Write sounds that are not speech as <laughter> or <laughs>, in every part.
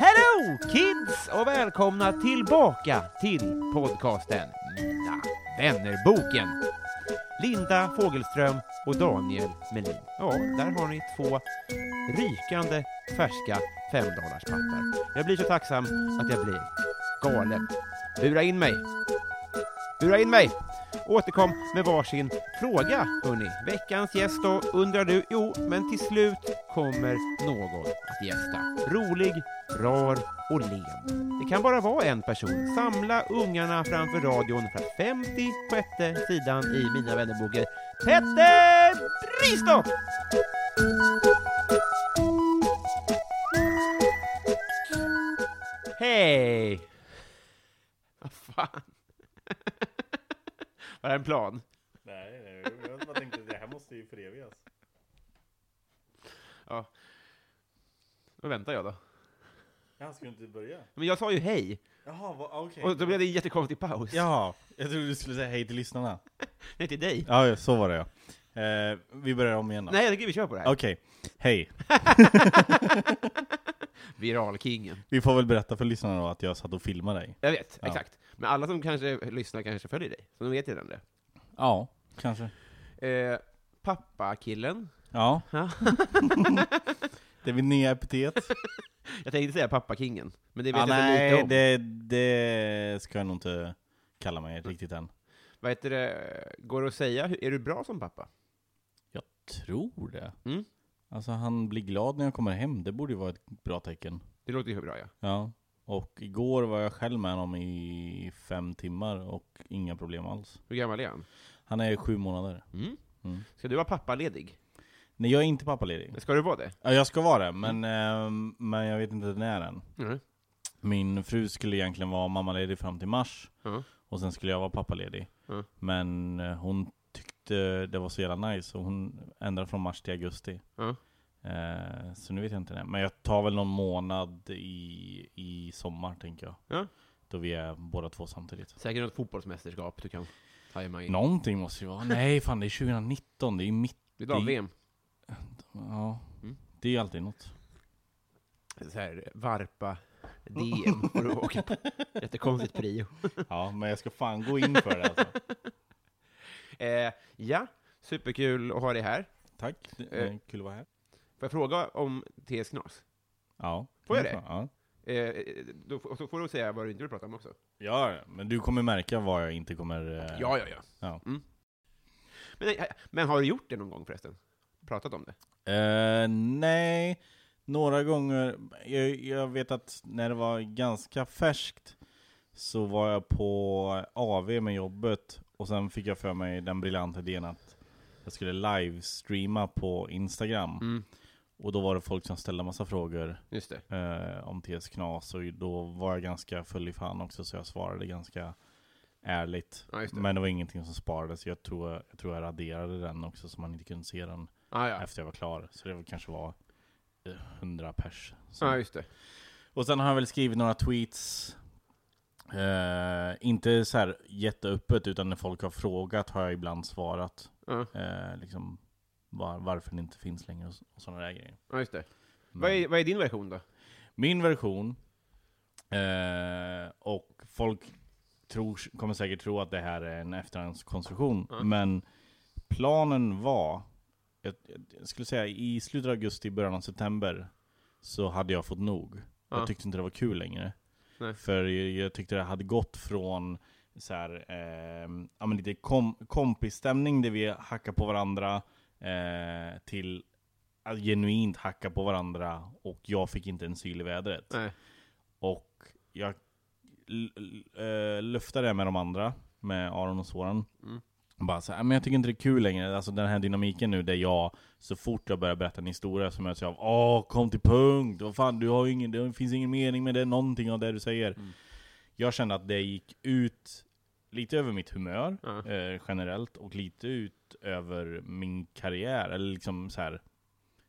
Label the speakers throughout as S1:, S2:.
S1: Hello kids och välkomna tillbaka till podcasten Mina vännerboken. Linda Fågelström och Daniel Melin. Ja, där har ni två rykande färska femdollarspappar. Jag blir så tacksam att jag blir galen. Bura in mig! Bura in mig! Återkom med varsin fråga, hörni. Veckans gäst då, undrar du? Jo, men till slut kommer någon att gästa. Rolig, rar och len. Det kan bara vara en person. Samla ungarna framför radion för att 56 sidan i Mina vännerboken. Petter Bristow! Hej! Vad fan? Var det en plan?
S2: Nej, nej, jag bara tänkte det här måste ju förevigas.
S1: Ja. Då väntar jag då.
S2: Han ska ju inte börja.
S1: Men jag sa ju hej,
S2: Jaha, vad- ah, okej.
S1: och då blev det en jättekonstig paus.
S2: Jaha, jag trodde du skulle säga hej till lyssnarna.
S1: <laughs> Nej, till dig.
S2: Ja, ja, så var det ja. Eh, vi börjar om igen då.
S1: Nej, jag tycker vi kör på det här.
S2: Okej, hej.
S1: Viralkingen.
S2: Vi får väl berätta för lyssnarna då att jag satt och filmade dig.
S1: Jag vet,
S2: Ja.
S1: exakt. Men alla som kanske lyssnar kanske följer dig, så de vet redan det.
S2: Ja, kanske.
S1: Eh, pappakillen.
S2: Ja.
S1: Ja.
S2: <laughs> det är mitt nya epitet.
S1: Jag tänkte säga pappakingen, men det vet
S2: Ja,
S1: jag inte lite
S2: nej,
S1: om.
S2: det, det ska jag nog inte kalla mig riktigt än.
S1: Vad heter det? Går det att säga, hur- är du bra som pappa?
S2: Jag tror det.
S1: Mm.
S2: Alltså han blir glad när jag kommer hem, det borde ju vara ett bra tecken.
S1: Det låter ju hur bra, ja.
S2: Ja, och igår var jag själv med honom i fem timmar och inga problem alls.
S1: Hur gammal är han?
S2: Han är sju månader.
S1: Mm.
S2: Mm.
S1: Ska du vara pappaledig?
S2: Nej, jag är inte pappaledig.
S1: Ska du vara det?
S2: Ja, jag ska vara det, men, ehm, men jag vet inte när än.
S1: Mm.
S2: Min fru skulle egentligen vara mammaledig fram till mars,
S1: Ja.
S2: och sen skulle jag vara pappaledig.
S1: Mm.
S2: Men eh, hon tyckte det var så jävla nice, så hon ändrade från mars till augusti.
S1: Ja.
S2: Eh, så nu vet jag inte det. Men jag tar väl någon månad i, i sommar, tänker jag.
S1: Ja.
S2: Då vi är båda två samtidigt.
S1: Säkert något fotbollsmästerskap du kan tajma in.
S2: Någonting måste ju vara. Nej fan, det är 2019. Det är ju mitt...
S1: Det är
S2: Det-
S1: VM.
S2: Ja.
S1: Mm.
S2: Det är ju alltid något.
S1: Så här, varpa DM får du åka på. <laughs> Jättekonstigt prio.
S2: Ja, men jag ska fan gå in för det alltså.
S1: Eh, ja, superkul att ha dig här.
S2: Tack.
S1: Eh.
S2: Eh, Kul att vara här.
S1: Får jag fråga om TS Knas?
S2: Ja.
S1: Får jag det?
S2: Ja.
S1: Eh, då, f- så får du säga vad du inte vill prata om också.
S2: ja, men du kommer märka vad jag inte kommer... eh,
S1: Ja, ja, ja.
S2: Ja.
S1: Mm. Men, eh, men har du gjort det någon gång förresten? Pratat om det?
S2: Eh, nej, några gånger. Jag, jag vet att när det var ganska färskt så var jag på AV med jobbet och sen fick jag för mig den briljanta idén att jag skulle livestreama på Instagram.
S1: Mm.
S2: Och då var det folk som ställde massa frågor
S1: Just det.
S2: eh, om TS Knas och då var jag ganska full i fan också så jag svarade ganska ärligt.
S1: Ja, just det.
S2: Men det var ingenting som sparades. Jag tror jag, tror jag raderade den också så man inte kunde se den
S1: Ah, ja.
S2: efter jag var klar. Så det var- kanske var eh, 100 pers. som-
S1: ja, Ah, just det.
S2: Och sen har han väl skrivit några tweets. Eh, inte så här jätteöppet, utan när folk har frågat har jag ibland svarat.
S1: Ja,
S2: Eh, liksom var, varför den inte finns längre och, s- och sådana där grejer.
S1: ja just det. Vad, är, vad är din version då?
S2: Min version, eh, och folk tror, kommer säkert tro att det här är en efterhandskonstruktion, men planen var, jag, jag skulle säga i slutet av augusti, början av september, så hade jag fått nog.
S1: Ja.
S2: Jag tyckte inte det var kul längre.
S1: Nej.
S2: För jag, jag tyckte det hade gått från så här, eh, ja, men lite kom, kompisstämning där vi hackar på varandra, eh, till att genuint hacka på varandra och jag fick inte en syl i vädret.
S1: Nej.
S2: Och jag l- l- eh, luftade det med de andra, med Aron och Soran.
S1: Mm.
S2: Bara så här, "Ah, men jag tycker inte det är kul längre. Alltså den här dynamiken nu där jag, så fort jag börjar berätta en historia så möts jag av Åh, kom till punkt! Vad fan, du har ju ingen, det finns ingen mening med det, någonting av det du säger.
S1: Mm.
S2: Jag kände att det gick ut lite över mitt humör
S1: Ja.
S2: eh, generellt och lite ut över min karriär. Eller liksom så här,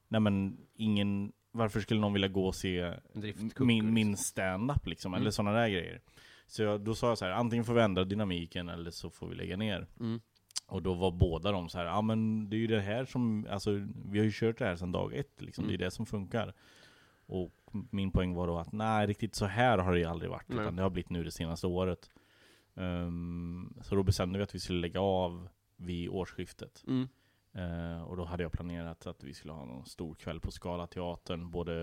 S2: nej men ingen, varför skulle någon vilja gå och se
S1: En driftkucko,
S2: min, min stand-up liksom,
S1: Mm.
S2: eller sådana där grejer. Så jag, då sa jag så här, antingen får vi ändra dynamiken eller så får vi lägga ner.
S1: Mm.
S2: Och då var båda de så här, ja ah, men det är ju det här som, alltså vi har ju kört det här sedan dag ett liksom,
S1: Mm.
S2: det är det som funkar. Och min poäng var då att nej, riktigt så här har det ju aldrig varit,
S1: Nej.
S2: utan det har blivit nu det senaste året. Ehm, så då bestämde vi att vi skulle lägga av vid årsskiftet.
S1: Mm.
S2: Eh, och då hade jag planerat att vi skulle ha någon stor kväll på Skala teatern, både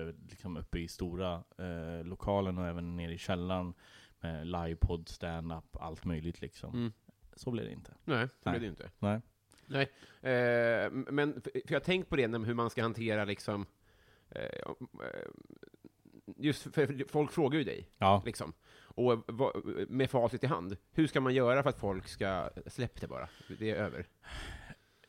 S2: eh, liksom uppe i stora eh, lokalen och även nere i källaren. Med livepodd, stand-up, allt möjligt liksom.
S1: Mm.
S2: Så blev det inte.
S1: Nej, det blev
S2: Nej.
S1: det ju inte.
S2: Nej.
S1: Nej. Eh, men för för jag har tänkt på det, när- hur man ska hantera liksom... Eh, om, eh, just för- för folk frågar ju dig,
S2: Ja,
S1: liksom. Och vad- med facit i hand, hur ska man göra för att folk ska släppa det bara? Det är över.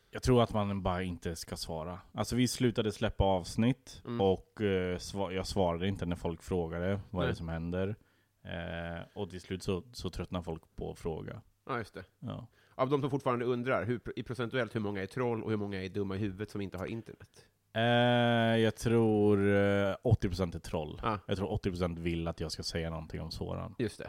S2: jag tror att man bara inte ska svara. Alltså vi slutade släppa avsnitt
S1: Mm.
S2: och eh, sva- jag svarade inte när folk frågade vad
S1: Nej.
S2: är det som händer. Eh, och till slut så, så tröttnar folk på att fråga.
S1: Ja, just det.
S2: Ja.
S1: Av de som fortfarande undrar, hur, i procentuellt, hur många är troll och hur många är dumma i huvudet som inte har internet?
S2: Eh, jag tror eh, 80% är troll.
S1: Ah.
S2: Jag tror 80% vill att jag ska säga någonting om Soran.
S1: Just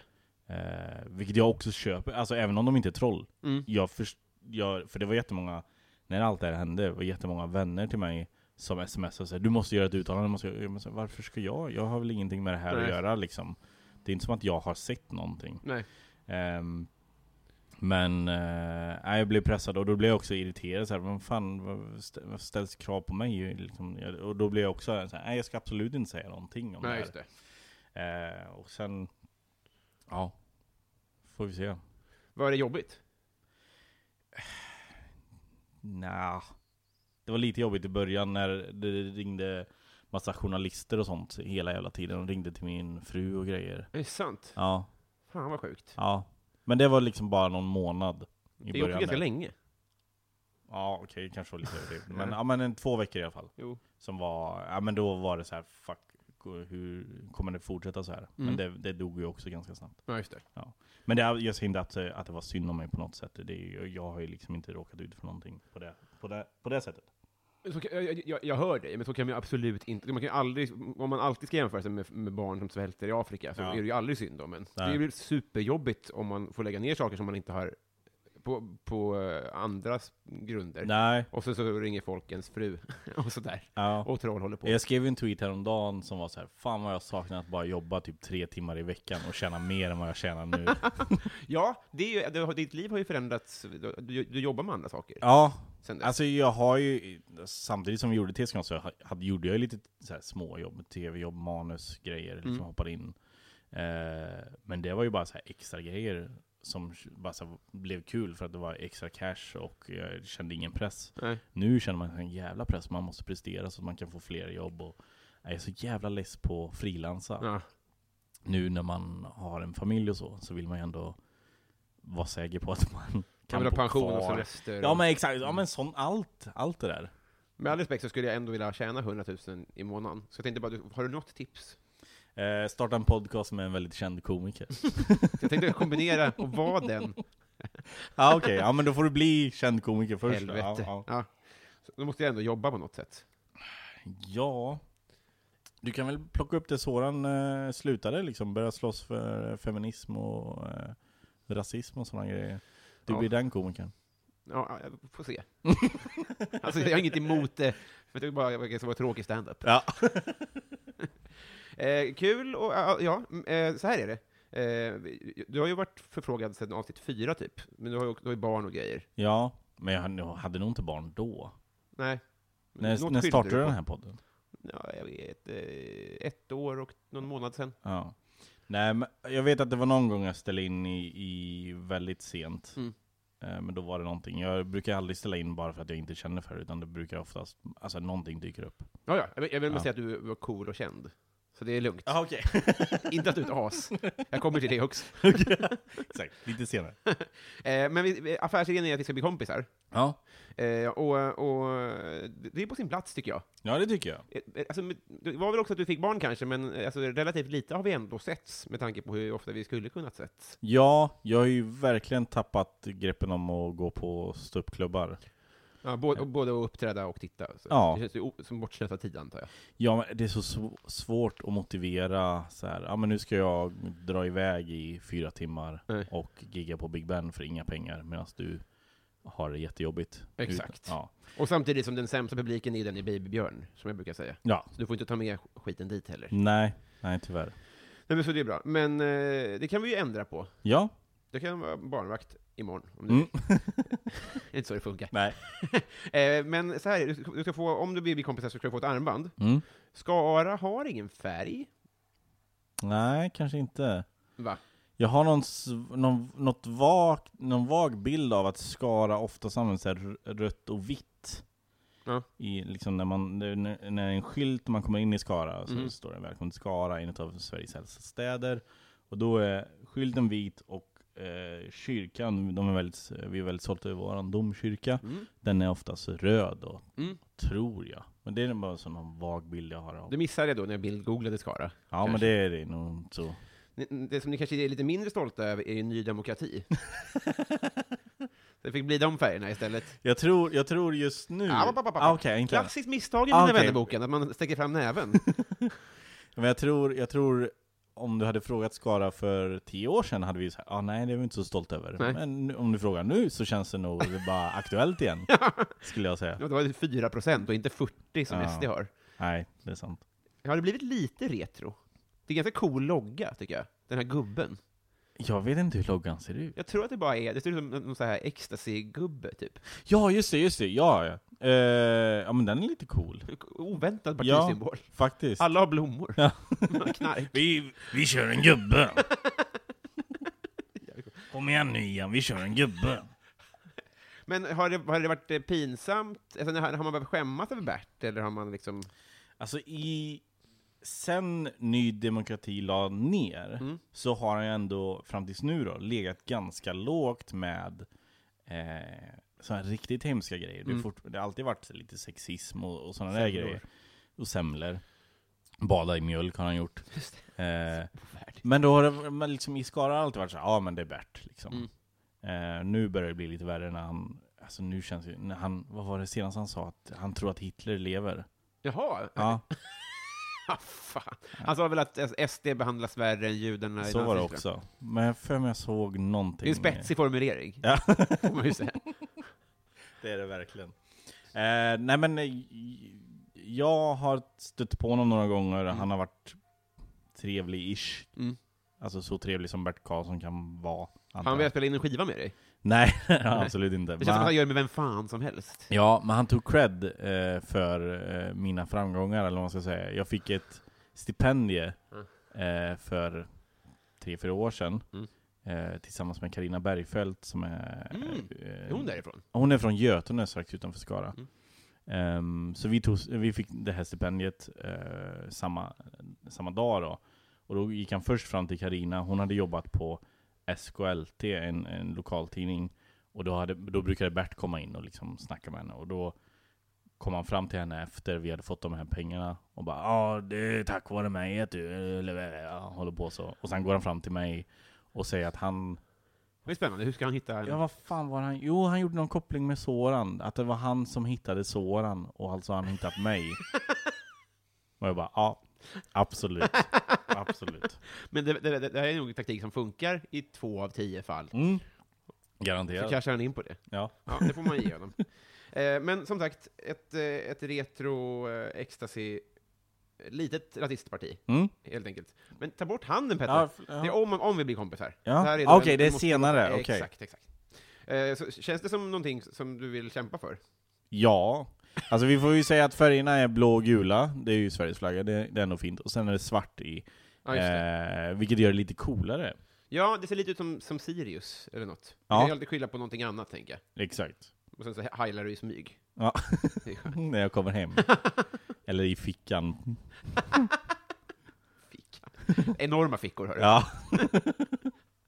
S1: det.
S2: Eh, vilket jag också köper, alltså även om de inte är troll.
S1: Mm.
S2: Jag för, jag, för det var jättemånga, när allt det här hände, var jättemånga vänner till mig som smsade och sa du måste göra ett uttalande, du måste göra-" jag måste, varför ska jag? Jag har väl ingenting med det här
S1: Nej.
S2: att göra liksom. Det är inte som att jag har sett någonting.
S1: Nej.
S2: Ehm, men eh, nej, jag blev pressad och då blev jag också irriterad. Så här, men fan, vad stä- vad ställs krav på mig? Liksom, Jag- och då blev jag också så här, nej jag ska absolut inte säga någonting om
S1: Nej,
S2: det
S1: just
S2: här.
S1: det.
S2: Eh, och sen, ja, får vi se.
S1: Var det jobbigt?
S2: Nja, det var lite jobbigt i början när det ringde massa journalister och sånt hela jävla tiden. De ringde till min fru och grejer.
S1: Är det sant?
S2: Ja,
S1: Fan vad sjukt.
S2: ja. Men det var liksom bara någon månad i
S1: Det är gjort
S2: början.
S1: ganska
S2: där.
S1: länge.
S2: Ja okej, det kanske var lite överdrivet. Men, ja, men en, två veckor i alla fall.
S1: Jo.
S2: Som var, ja men då var det så här, fuck, hur kommer det fortsätta så här? Men
S1: Mm.
S2: det, det dog ju också ganska snabbt.
S1: Ja, just det.
S2: Men det, jag säger inte att, eh, att det var synd om mig på något sätt. Det är, ju- jag har ju liksom inte råkat ut för någonting på det, på det, på det sättet.
S1: Men Så, kan- jag, jag, jag hör dig, men så kan man ju absolut inte. Man kan ju aldrig, om man alltid ska jämföra sig med, med barn som svälter i Afrika så
S2: Ja.
S1: är det ju aldrig synd om en. Det
S2: Nej.
S1: är ju superjobbigt om man får lägga ner saker som man inte har på, på eh, andras grunder.
S2: Nej,
S1: Och så, så ringer folk ens fru <laughs> och sådär.
S2: ja.
S1: Och troll håller på.
S2: Jag skrev ju en tweet häromdagen som var så här, fan vad jag saknar att bara jobba typ tre timmar i veckan och tjäna mer än vad jag tjänar nu.
S1: Ja, det är ju, det, har- ditt liv har ju förändrats. Du, du jobbar med andra saker
S2: ja,
S1: sen dess.
S2: Alltså jag har ju, samtidigt som vi gjorde TSK så ha- hade, gjorde jag lite så här småjobb, tv-jobb, manus, grejer, liksom
S1: Mm.
S2: hoppade in. Eh, men det var ju bara så här extra grejer som bara så här blev kul för att det var extra cash och jag kände ingen press.
S1: Nej.
S2: Nu känner man en jävla press, man måste prestera så att man kan få fler jobb. Och jag är så jävla less på att frilansa.
S1: Ja.
S2: Nu när man har en familj och så, så vill man ju ändå vara säker på att man
S1: Kan
S2: kan
S1: vill ha
S2: bo
S1: pension och
S2: kvar.
S1: semester.
S2: Ja
S1: och-
S2: men exakt, ja
S1: Mm.
S2: men sån, allt, allt det där.
S1: Med all respekt så skulle jag ändå vilja tjäna 100 000 i månaden. Så jag tänkte bara, du- har du något tips?
S2: Eh, starta en podcast med en väldigt
S1: <laughs>
S2: känd komiker.
S1: Jag tänkte kombinera och vara den.
S2: Ja okej, ja men då får du bli känd komiker först. då.
S1: Helvete.
S2: Ja,
S1: Ja. Så Då måste jag ändå jobba på något sätt.
S2: ja. ja. Du kan väl plocka upp det så han eh, slutade liksom, börja slåss för eh, feminism och eh, rasism och sådana grejer. Du
S1: Ja.
S2: blir den komikern.
S1: Ja, jag får
S2: <laughs>
S1: se. alltså, jag har inget emot det, men det är bara det ska vara tråkig standup.
S2: Ja.
S1: <laughs> Eh, kul och ja, ja, mm, eh, så här är det. Eh, vi- du har ju varit förfrågad sedan avsnitt fyra, typ. Men du har ju, du har ju barn och grejer.
S2: Ja, men jag hade- jag hade nog inte barn då.
S1: Nej.
S2: När,
S1: Något
S2: när
S1: skyllde
S2: startade
S1: du
S2: du
S1: på.
S2: den här podden?
S1: Ja, jag vet. Eh, ett år och någon månad sedan.
S2: Ja. Nej, men jag vet att det var någon gång jag ställde in i, i väldigt sent.
S1: Mm.
S2: Eh, Men då var det någonting. Jag brukar aldrig ställa in bara för att jag inte känner för det, utan det brukar oftast, alltså någonting dyker upp.
S1: Ja, ja. Jag vill- jag vill bara
S2: Ja.
S1: säga att du var cool och känd. Så det är lugnt.
S2: Ah, okej.
S1: <laughs> Inte att
S2: <laughs>
S1: du är ett as. Jag kommer till det också.
S2: Exakt, lite senare.
S1: Eh, men vi- vi, affärsidén är att vi ska bli kompisar.
S2: Ja.
S1: Eh, och, och det det är på sin plats, tycker jag.
S2: ja, det tycker jag.
S1: Eh, eh, Alltså, men det var väl också att du fick barn kanske, men eh, alltså, relativt lite har vi ändå setts, med tanke på hur ofta vi skulle kunnat setts.
S2: Ja, jag har ju verkligen tappat greppen om att gå på ståuppklubbar.
S1: Ja, både, både att uppträda och titta. Så.
S2: Ja.
S1: Det känns ju o- som bortslösad tid, antar jag.
S2: Ja, men det är så sv- svårt att motivera så här, ja men nu ska jag dra iväg i fyra timmar
S1: Nej.
S2: och gigga på Big Ben för inga pengar medan du har det jättejobbigt.
S1: Exakt.
S2: Utan- Ja.
S1: Och samtidigt som den sämsta publiken är den i Babybjörn, som jag brukar säga.
S2: ja.
S1: Så du får inte ta med sk- skiten dit heller.
S2: Nej, nej tyvärr.
S1: Nej, men så det är bra. Men eh, det kan vi ju ändra på.
S2: Ja.
S1: Jag kan vara barnvakt imorgon, om du
S2: Mm.
S1: Det är inte så det funkar.
S2: Nej.
S1: <laughs> Eh, men så här, är det. du ska- du ska få, om du blir kompisar så ska du få ett armband.
S2: Mm.
S1: Skara har ingen färg,
S2: Nej, kanske inte.
S1: va?
S2: Jag har någon, sv- någon, något vag, någon vag bild av att Skara ofta används så här r- rött och vitt.
S1: Ja.
S2: I, liksom när, man, när, när en skylt när man kommer in i Skara så
S1: Mm.
S2: står det Välkommen till Skara, en av Sveriges äldsta städer. Och då är skylten vit och eh, kyrkan, de är väldigt, vi är väldigt stolta över vår domkyrka.
S1: Mm.
S2: Den är oftast röd då,
S1: Mm.
S2: tror jag. Men det är bara sån någon vag bild jag har av.
S1: Du missade det då när jag bildgooglade Skara.
S2: Ja men
S1: kanske.
S2: det är det nog inte så.
S1: Ni- Det som ni kanske är lite mindre stolta över är ju Ny
S2: <laughs>
S1: Demokrati. det fick bli de färgerna istället.
S2: Jag tror, jag tror just nu...
S1: Ah, ba, ba, ba, ba.
S2: Ah, Okej, inte än.
S1: Klassiskt misstag i
S2: Ah,
S1: Mina
S2: okej.
S1: vännerboken, att man sticker fram
S2: <laughs>
S1: näven.
S2: Men jag tror, jag tror om du hade frågat Skara för tio år sedan hade vi sagt ah, nej det är vi inte så stolta över.
S1: Nej.
S2: Men nu- om du frågar nu så känns det nog bara aktuellt igen. skulle jag säga.
S1: Ja, det var ju 4 procent och inte 40 som
S2: Ja.
S1: SD har.
S2: Nej, det är sant.
S1: Har det blivit lite retro? Det är ganska cool logga, tycker jag. Den här gubben.
S2: Jag vet inte hur loggan ser ut.
S1: Jag tror att det bara är, det ser ut som någon sån här ecstasy-gubbe, typ.
S2: Ja, just det, just det. Ja, ja. Eh, ja men den är lite cool.
S1: Oväntad partisymbol.
S2: Faktiskt.
S1: Alla har blommor.
S2: Ja.
S1: <laughs> Knark.
S2: Vi, vi kör en gubbe. Kom igen nu Ian, vi kör en gubbe.
S1: Men har det, har det varit eh, pinsamt? Alltså, har har man behövt skämmas över Bert, eller har man liksom...
S2: Alltså i... Sen Ny Demokrati la ner så har han ju ändå fram tills nu då legat ganska lågt med eh, sådana här riktigt hemska grejer. Det, är fort, det har alltid varit lite sexism och, och sådana där
S1: Semlor.
S2: grejer. Och semlor. Bada i mjölk har han gjort. Eh, men då har det, men liksom, i Skara har det alltid varit så här, ja men det är Bert liksom. Eh, nu börjar det bli lite värre när han, alltså nu känns det, när han, vad var det senast han sa? Att han tror att Hitler lever.
S1: Jaha,
S2: Ja.
S1: <laughs> Ah, fan. Han sa väl att SD behandlas värre än judarna i
S2: Så var det
S1: Nazityskland.
S2: också. Men jag för mig jag såg
S1: Det
S2: någonting.
S1: är ju spetsig formulering, <laughs>
S2: Ja,
S1: får man ju
S2: <laughs>
S1: säga.
S2: det är det verkligen. Eh, nej men, eh, jag har stött på honom några gånger. Han har varit trevlig-ish.
S1: Mm.
S2: Alltså så trevlig som Bert Karlsson kan vara. antar
S1: Han
S2: jag.
S1: vill spela in en skiva med dig.
S2: Nej, <laughs> absolut inte.
S1: Det
S2: Men
S1: känns som att
S2: han-
S1: han gör det med vem fan som helst.
S2: Ja, men han tog cred eh, för eh, mina framgångar, eller vad man ska säga. Jag fick ett stipendie eh, för tre, fyra år sedan.
S1: Mm.
S2: Eh, tillsammans med Karina Bergfeldt som är...
S1: Mm.
S2: Eh,
S1: Är hon därifrån?
S2: hon är från Götene, strax utanför Skara. Ehm, så vi, tog, vi fick det här stipendiet eh, samma, samma dag då. Och då gick han först fram till Karina. Hon hade jobbat på SKLT, en, en lokaltidning. Och då, hade, då brukade Bert komma in och liksom snacka med henne. Och då kom han fram till henne efter vi hade fått de här pengarna och bara ja, det är tack vare mig att du eller, ja, håller på så. Och sen går han fram till mig och säger att han
S1: Det är spännande, hur ska han hitta en...
S2: Ja vad fan var han? Jo han gjorde någon koppling med Soran, att
S1: <laughs>
S2: det var han som hittade Soran och alltså har han hittat mig. och jag bara ja, Absolut. Absolut.
S1: Men det, det, det, det här är nog en taktik som funkar i två av tio fall.
S2: Mm.
S1: Så
S2: Garanterat.
S1: cashar han in på det.
S2: Ja.
S1: Ja, det får man ge
S2: <laughs>
S1: honom. Eh, Men som sagt, ett, eh, ett retro eh, ecstasy, litet rasistparti,
S2: Mm.
S1: helt enkelt. Men ta bort handen Petter!
S2: Ja, f- ja.
S1: Det är om, om vi blir kompisar.
S2: Ja.
S1: Det här
S2: Ah, Okej,
S1: en-
S2: det är
S1: måste-
S2: senare. Okej.
S1: Exakt, exakt. Eh, Så känns det som någonting som du vill kämpa för?
S2: Ja. Alltså vi får ju säga att färgerna är blå och gula. Det är ju Sveriges flagga. Det, det är ändå fint. Och sen är det svart i.
S1: Ja, just det.
S2: eh, vilket gör det lite coolare.
S1: ja det ser lite ut som, som Sirius, eller något.
S2: Ja.
S1: Man kan ju alltid skylla på någonting annat, tänker jag.
S2: Exakt.
S1: Och sen så heilar du i smyg.
S2: Ja.
S1: Det är skönt.
S2: När jag
S1: <laughs>
S2: kommer hem. Eller i fickan.
S1: Ficka. Enorma fickor, hör du.
S2: Ja.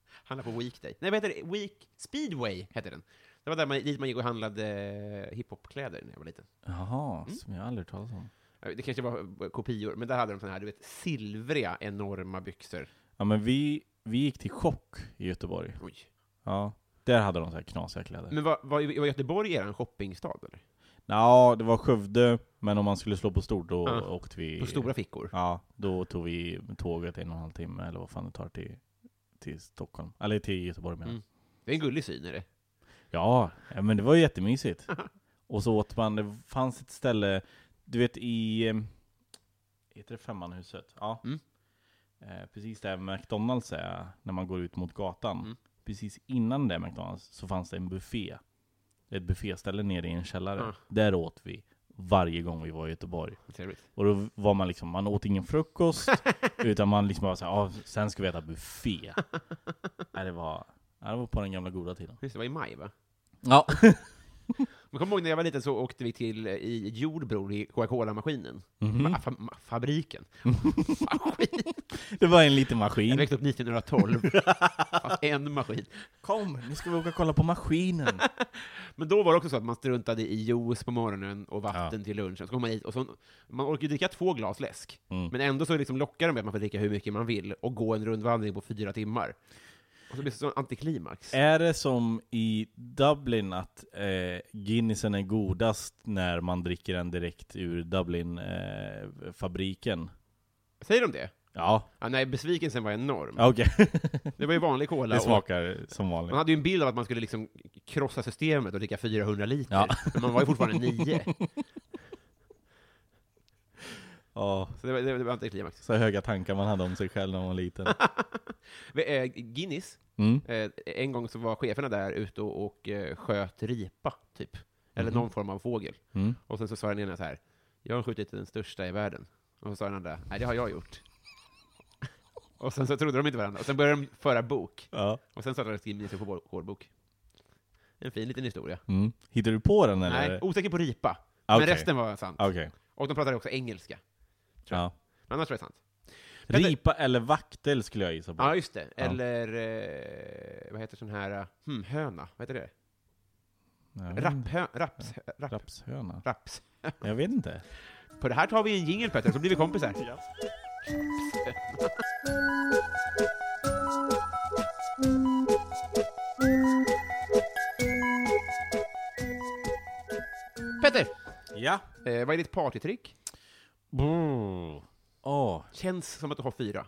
S1: Handla på Weekday. Nej, vad heter det? Week... Speedway heter den. Det var där man, dit man gick och handlade eh, hiphopkläder när jag var liten.
S2: Jaha, som jag aldrig talat om.
S1: Eh, Det kanske var eh, kopior, men där hade de såna här, du vet, silvriga, enorma byxor.
S2: Ja men vi, vi gick till Chock i Göteborg.
S1: Oj.
S2: Ja. Mm. Där hade de så här knasiga kläder.
S1: Men var, var, var Göteborg er shoppingstad, eller?
S2: Ja, det var Skövde, men om man skulle slå på stort då
S1: Ja.
S2: åkte vi...
S1: På stora fickor?
S2: Ja, då tog vi tåget en och en halv timme, eller vad fan det tar, till, till Stockholm. Eller till Göteborg menar jag.
S1: Mm. Det är en gullig syn, är det?
S2: Ja, ja, men det var ju jättemysigt. och så åt man, det fanns ett ställe, du vet i... eh, Heter det Femmanhuset? Ja.
S1: Mm.
S2: Eh, precis där McDonalds är, när man går ut mot gatan.
S1: Mm.
S2: Precis innan det McDonalds så fanns det en buffé. Ett bufféställe nere i en källare.
S1: Ja.
S2: Där åt vi varje gång vi var i Göteborg.
S1: Trevligt.
S2: Och då var man liksom, man åt
S1: <laughs>
S2: ingen frukost, utan man liksom bara såhär, ah, sen ska vi
S1: <laughs>
S2: äta buffé. Nej, det, var, nej, det var på den gamla goda tiden.
S1: Just det, var i maj, va?
S2: Ja. <laughs>
S1: Men kom ihåg när jag var liten så åkte vi till eh, i Jordbro i Coca-Cola-maskinen.
S2: Mhm.
S1: Ma- fa- ma- fabriken. Maskin.
S2: Det var en liten
S1: Jag
S2: maskin.
S1: växte upp 1912. Fast en maskin.
S2: Kom, nu ska vi åka och kolla på maskinen.
S1: Men då var det också så att man struntade i juice på morgonen och vatten till lunchen. Så kom man hit och så, man orkar ju dricka två glas läsk.
S2: Mm.
S1: Men ändå så liksom lockar de med att man får dricka hur mycket man vill och gå en rundvandring på fyra timmar. Och så blir det sån antiklimax.
S2: Är det som i Dublin att eh, Guinnessen är godast när man dricker den direkt ur Dublin-fabriken?
S1: Säger de det?
S2: ja,
S1: Ja, nej, besvikelsen var enorm.
S2: Ja, okej. <laughs>
S1: Det var ju vanlig cola.
S2: det
S1: och-
S2: smakar som
S1: Man
S2: vanligt.
S1: hade ju en bild av att man skulle liksom krossa systemet och dricka 400 liter.
S2: Ja.
S1: Men man var ju fortfarande nio.
S2: Ja,
S1: Så det var, det var antiklimax.
S2: så höga tankar man hade om sig själv när man var liten.
S1: Vi- eh, Guinness,
S2: Mm.
S1: eh, en gång så var cheferna där ute och, och eh, sköt ripa, typ. Eller någon form av fågel.
S2: Mhm. Mm.
S1: Och sen så sa den ena så här, jag har skjutit den största i världen. Och så sa den andra, nej det har jag gjort. <laughs> Och sen så trodde de inte varandra. Och sen började de föra bok.
S2: Ja.
S1: Och sen startades Guinness på vår, vår bok. En fin liten historia.
S2: Mm. Hittar du på den eller?
S1: Nej, osäker på ripa. Men
S2: Okej.
S1: resten var sant.
S2: Okej.
S1: Och de pratade också engelska.
S2: Ja.
S1: Men annars var det sant. Petter-
S2: Ripa eller vaktel skulle jag gissa på.
S1: Ja, just det.
S2: Ja.
S1: Eller, eh, vad heter sån här, eh, hmm, höna? Vad heter det?
S2: Ja.
S1: Rapphö- raps, rap,
S2: Rapshöna?
S1: raps.
S2: Jag vet inte.
S1: På det här tar vi en jingel Petter, så blir vi kompisar. Petter!
S2: Ja.
S1: Eh, vad är ditt partytrick? Mm.
S2: Åh,
S1: Känns som att du har fyra.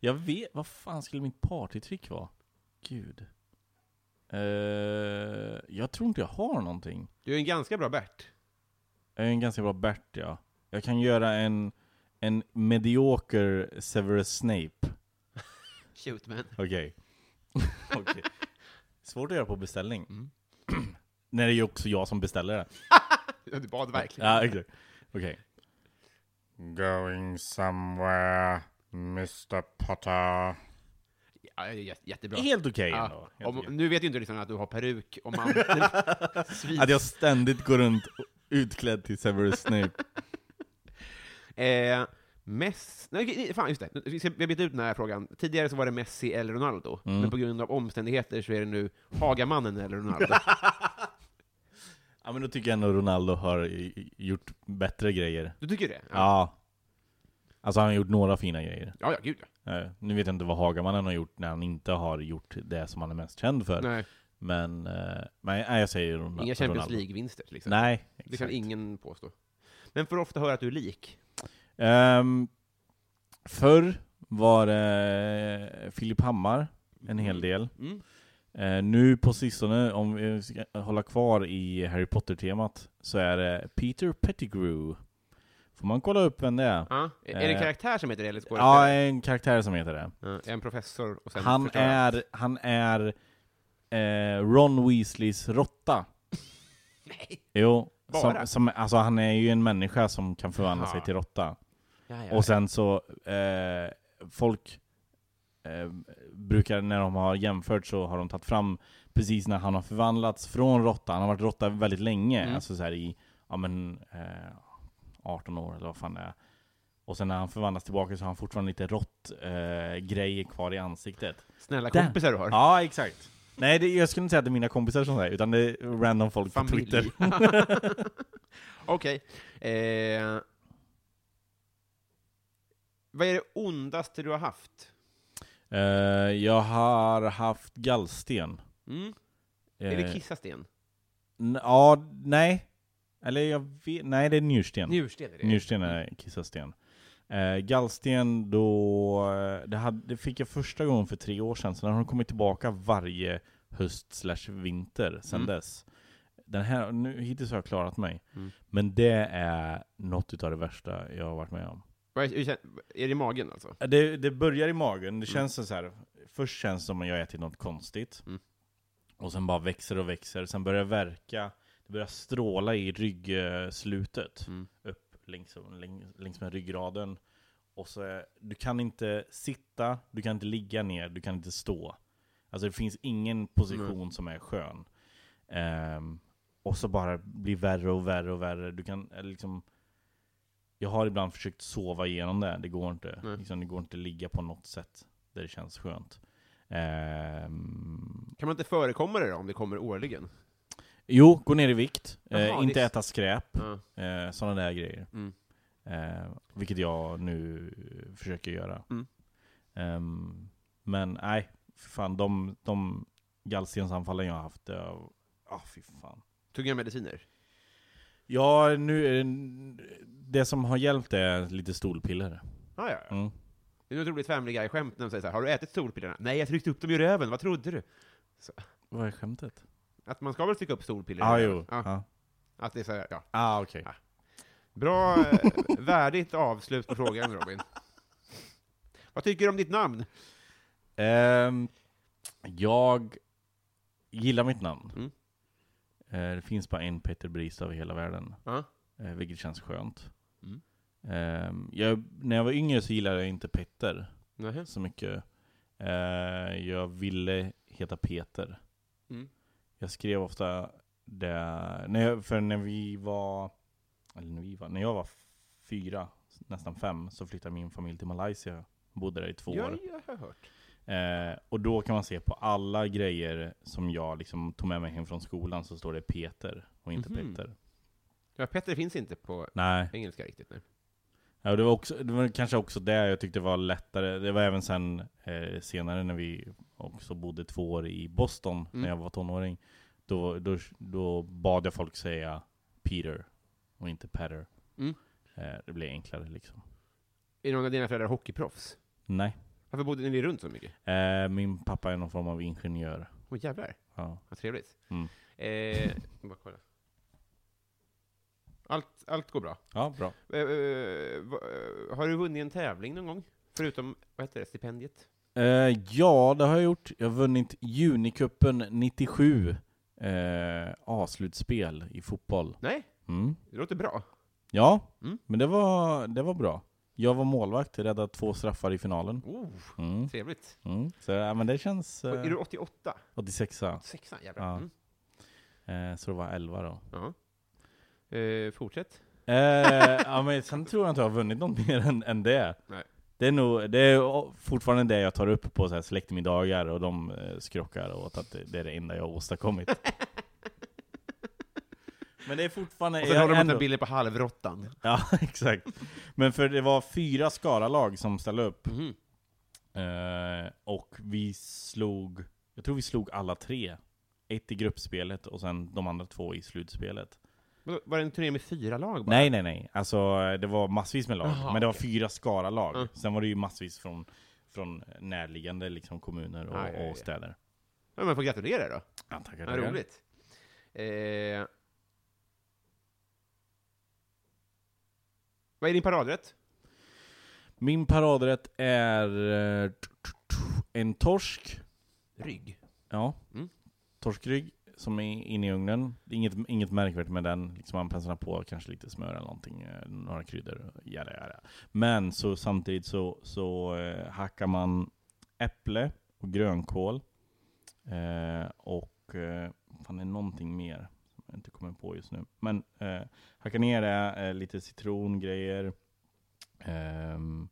S2: jag vet. Vad fan skulle mitt partytrick vara? Gud. Eh, jag tror inte jag har någonting.
S1: Du är en ganska bra Bert.
S2: Jag är en ganska bra Bert, ja. Jag kan göra en, en medioker Severus Snape.
S1: Shoot man. <laughs>
S2: Okej. Okej. Svårt att göra på beställning.
S1: Mm.
S2: <clears throat> Nej, det är ju också jag som beställer det.
S1: Du bad verkligen.
S2: Ja, exakt. Okej.
S3: Going somewhere, Mr. Potter.
S1: Ja, det är jä- jättebra.
S2: Helt okej ändå.
S1: Ja,
S2: Helt
S1: om,
S2: okej.
S1: nu vet ju inte lyssnarna att du har peruk och <laughs> man... Svin.
S2: Att jag ständigt går runt utklädd till Severus Snape.
S1: Eh, Messi... Nej, okej, fan, just det. Vi ska- Vi har bytt ut den här frågan. Tidigare så var det Messi eller Ronaldo,
S2: Mm.
S1: men på grund av omständigheter så är det nu Hagamannen eller
S2: <laughs>
S1: Ronaldo.
S2: Ja men då tycker jag ändå Ronaldo har i- i- gjort bättre grejer.
S1: Du tycker det?
S2: Ja. Alltså han har gjort några fina grejer.
S1: Ja, ja, gud ja.
S2: Eh, Nu vet jag inte vad Hagamannen har gjort när han inte har gjort det som han är mest känd för.
S1: Nej,
S2: Men, eh, nej, nej, jag säger Ron- Ronaldo.
S1: inga Champions League-vinster, liksom.
S2: Nej,
S1: Det kan
S2: exakt.
S1: ingen påstå. Men får ofta höra att du är lik.
S2: Ehm, förr var det Filip Hammar en hel del.
S1: Mm.
S2: Eh, nu på sistone, om vi ska hålla kvar i Harry Potter-temat, så är det Peter Pettigrew. Får man kolla upp vem det är?
S1: Ja. Är är det en
S2: Eh.
S1: karaktär som heter det, eller
S2: Ja,
S1: skådespelare?
S2: en karaktär som heter det.
S1: Ja, en professor och sen
S2: Han
S1: förstör allt.
S2: är, han är eh, Ron
S1: <laughs>
S2: Weasleys råtta. Jo,
S1: Bara?
S2: som, som, alltså han är ju en människa som kan förvandla
S1: Jaha.
S2: sig till råtta.
S1: Ja, ja.
S2: Och sen så, eh, folk eh, brukar, när de har jämfört så har de tagit fram precis när han har förvandlats från råtta, han har varit råtta väldigt länge,
S1: Mm.
S2: alltså så här i, ja men, eh, 18 år eller vad fan det är. Och sen när han förvandlas tillbaka så har han fortfarande lite rått eh, grejer kvar i ansiktet.
S1: Snälla
S2: Där.
S1: kompisar du har.
S2: Ja, exakt. Nej, det, jag skulle inte säga att det är mina kompisar som säger utan det är random folk på <laughs> Twitter.
S1: <laughs> Okej. Eh, vad är det ondaste du har haft?
S2: Eh, jag har haft gallsten.
S1: Mm.
S2: Eh,
S1: Är det kissasten?
S2: n- Ja, nej. Eller jag vet, nej det är njursten.
S1: Njursten är det.
S2: Njursten är kissasten. Eh, gallsten då, eh, det, hade, det fick jag första gången för tre år sedan, sen har den kommit tillbaka varje höst slash vinter sedan
S1: Mm.
S2: dess. Den här, nu, hittills har jag klarat mig.
S1: Mm.
S2: Men det är något utav det värsta jag har varit med om.
S1: Vad är, hur kän- är det i magen alltså?
S2: Det, det börjar i
S1: Mm.
S2: magen, det känns så här. Först känns det som att jag ätit något konstigt.
S1: Mm.
S2: Och sen bara växer och växer, sen börjar det verka. Det börjar stråla i ryggslutet.
S1: Mm.
S2: Upp längs, längs, längs med ryggraden. Och så, är- du kan inte sitta, du kan inte ligga ner, du kan inte stå. Alltså det finns ingen position som är skön. Ehm, och så bara blir värre och värre och värre. Du kan eller liksom... Jag har ibland försökt sova igenom det, det går inte.
S1: Nej.
S2: Liksom, det går inte att ligga på något sätt där det känns skönt. Ehm,
S1: Kan man inte förekomma det då, om det kommer årligen?
S2: jo, gå ner i vikt.
S1: Jaha,
S2: Eh, inte
S1: det är s-
S2: äta skräp.
S1: Ja.
S2: Eh, Sådana där grejer.
S1: Mm.
S2: Eh, vilket jag nu eh, försöker göra.
S1: Mm.
S2: Ehm, men nej, för fan. De, de gallstensanfallen jag har haft, det har- ah fy fan.
S1: Tog jag mediciner?
S2: Ja, nu är det, det som har hjälpt är lite stolpiller.
S1: Ah, ja, ja.
S2: Mm.
S1: Det är ett roligt Family Guy-skämt när de säger så här, har du ätit solpillerna? Nej, jag tryckte upp dem i röven, vad trodde du?
S2: Vad är skämtet?
S1: Att man ska väl trycka upp solpiller i
S2: Ah,
S1: röven?
S2: jo.
S1: Ja,
S2: Ah.
S1: Att det är så här, ja.
S2: Ah, okej.
S1: Ja. Bra, eh, <laughs> värdigt avslut på frågan Robin. Vad tycker du om ditt namn?
S2: Ehm, jag gillar mitt namn.
S1: Mm.
S2: Eh, det finns bara en Peter Brist över hela världen.
S1: Ja.
S2: Eh, vilket känns skönt.
S1: Mm.
S2: Ehm, jag, när jag var yngre så gillade jag inte Petter
S1: Nähä.
S2: så mycket. Eh, jag ville heta Peter.
S1: Mm.
S2: Jag skrev ofta det, när jag, för när vi var, eller när vi var, när jag var fyra, nästan fem, så flyttade min familj till Malaysia. Bodde där i två år.
S1: Ja, jag har hört.
S2: Eh, och då kan man se på alla grejer som jag liksom tog med mig hem från skolan så står det Peter och inte
S1: Mhm.
S2: Petter.
S1: Ja, Petter finns inte på
S2: Nej.
S1: engelska riktigt nu.
S2: Ja, och det, var också, det var kanske också det jag tyckte var lättare. Det var även sen eh, senare när vi också bodde två år i Boston
S1: Mm.
S2: när jag var tonåring. Då, då, då bad jag folk säga Peter och inte Petter.
S1: Mm.
S2: Eh, det blev enklare liksom.
S1: Är någon av dina föräldrar hockeyproffs?
S2: Nej.
S1: Varför bodde ni runt så mycket?
S2: Eh, min pappa är någon form av ingenjör.
S1: Åh jävlar,
S2: Ja.
S1: vad trevligt.
S2: Mm.
S1: Eh, bara kolla. Allt, allt går bra.
S2: ja, bra.
S1: Eh, eh, va- eh, har du vunnit en tävling någon gång? Förutom, vad heter det, stipendiet?
S2: Eh, ja, det har jag gjort. Jag har vunnit Junicupen 97 eh, A-slutspel i fotboll.
S1: Nej,
S2: Mm.
S1: det låter bra.
S2: Ja,
S1: Mm.
S2: men det var, det var bra. Jag var målvakt, räddade två straffar i finalen.
S1: Oh,
S2: Mm,
S1: trevligt.
S2: mm. Så ja, men det känns...
S1: Och
S2: Eh,
S1: Är du 88?
S2: 86 eh,
S1: 86 jävlar.
S2: Ja.
S1: Mm.
S2: eh, så det var 11 då.
S1: Ja. Eh, fortsätt.
S2: Eh, ja, men sen tror jag inte jag har vunnit något <laughs> mer än, än det.
S1: Nej.
S2: Det är, nog, det är o- fortfarande det jag tar upp på så här släktmiddagar och de eh, skrockar åt att det, det är det enda jag har
S1: <laughs>
S2: åstadkommit. Men det är fortfarande...
S1: Och sen
S2: jag-
S1: har de
S2: ändå-
S1: ändå... bilder på halvrottan.
S2: <laughs> Ja, exakt. Men för det var fyra Skaralag som ställde upp.
S1: Mhm.
S2: Eh, och vi slog, jag tror vi slog alla tre. Ett i gruppspelet och sen de andra två i slutspelet.
S1: Vadå, Var det en turné med fyra lag bara?
S2: Nej, nej, nej. Alltså, det var massvis med lag.
S1: Jaha,
S2: men det var
S1: okej.
S2: fyra Skara-lag.
S1: Mm.
S2: Sen var det ju massvis från, från närliggande liksom, kommuner och,
S1: Aj, aj, aj.
S2: och städer.
S1: Ja, men får gratulera då.
S2: Ja, tackar,
S1: Vad
S2: tackar.
S1: roligt. Eh... Vad är din paradrätt?
S2: Min paradrätt är eh, t- t- t- en torsk.
S1: Rygg.
S2: Ja.
S1: Mm.
S2: Torskrygg som är inne i ugnen. Det är Inget, inget märkvärdigt med den. Liksom man pensar på kanske lite smör eller någonting. eh, Några kryddor. Jada, jada. Men så samtidigt så, så eh, hackar man äpple och grönkål. Eh, och eh, fan det är någonting mer som jag inte kommer på just nu. Men eh, hackar ner det, eh, lite citrongrejer. ehm,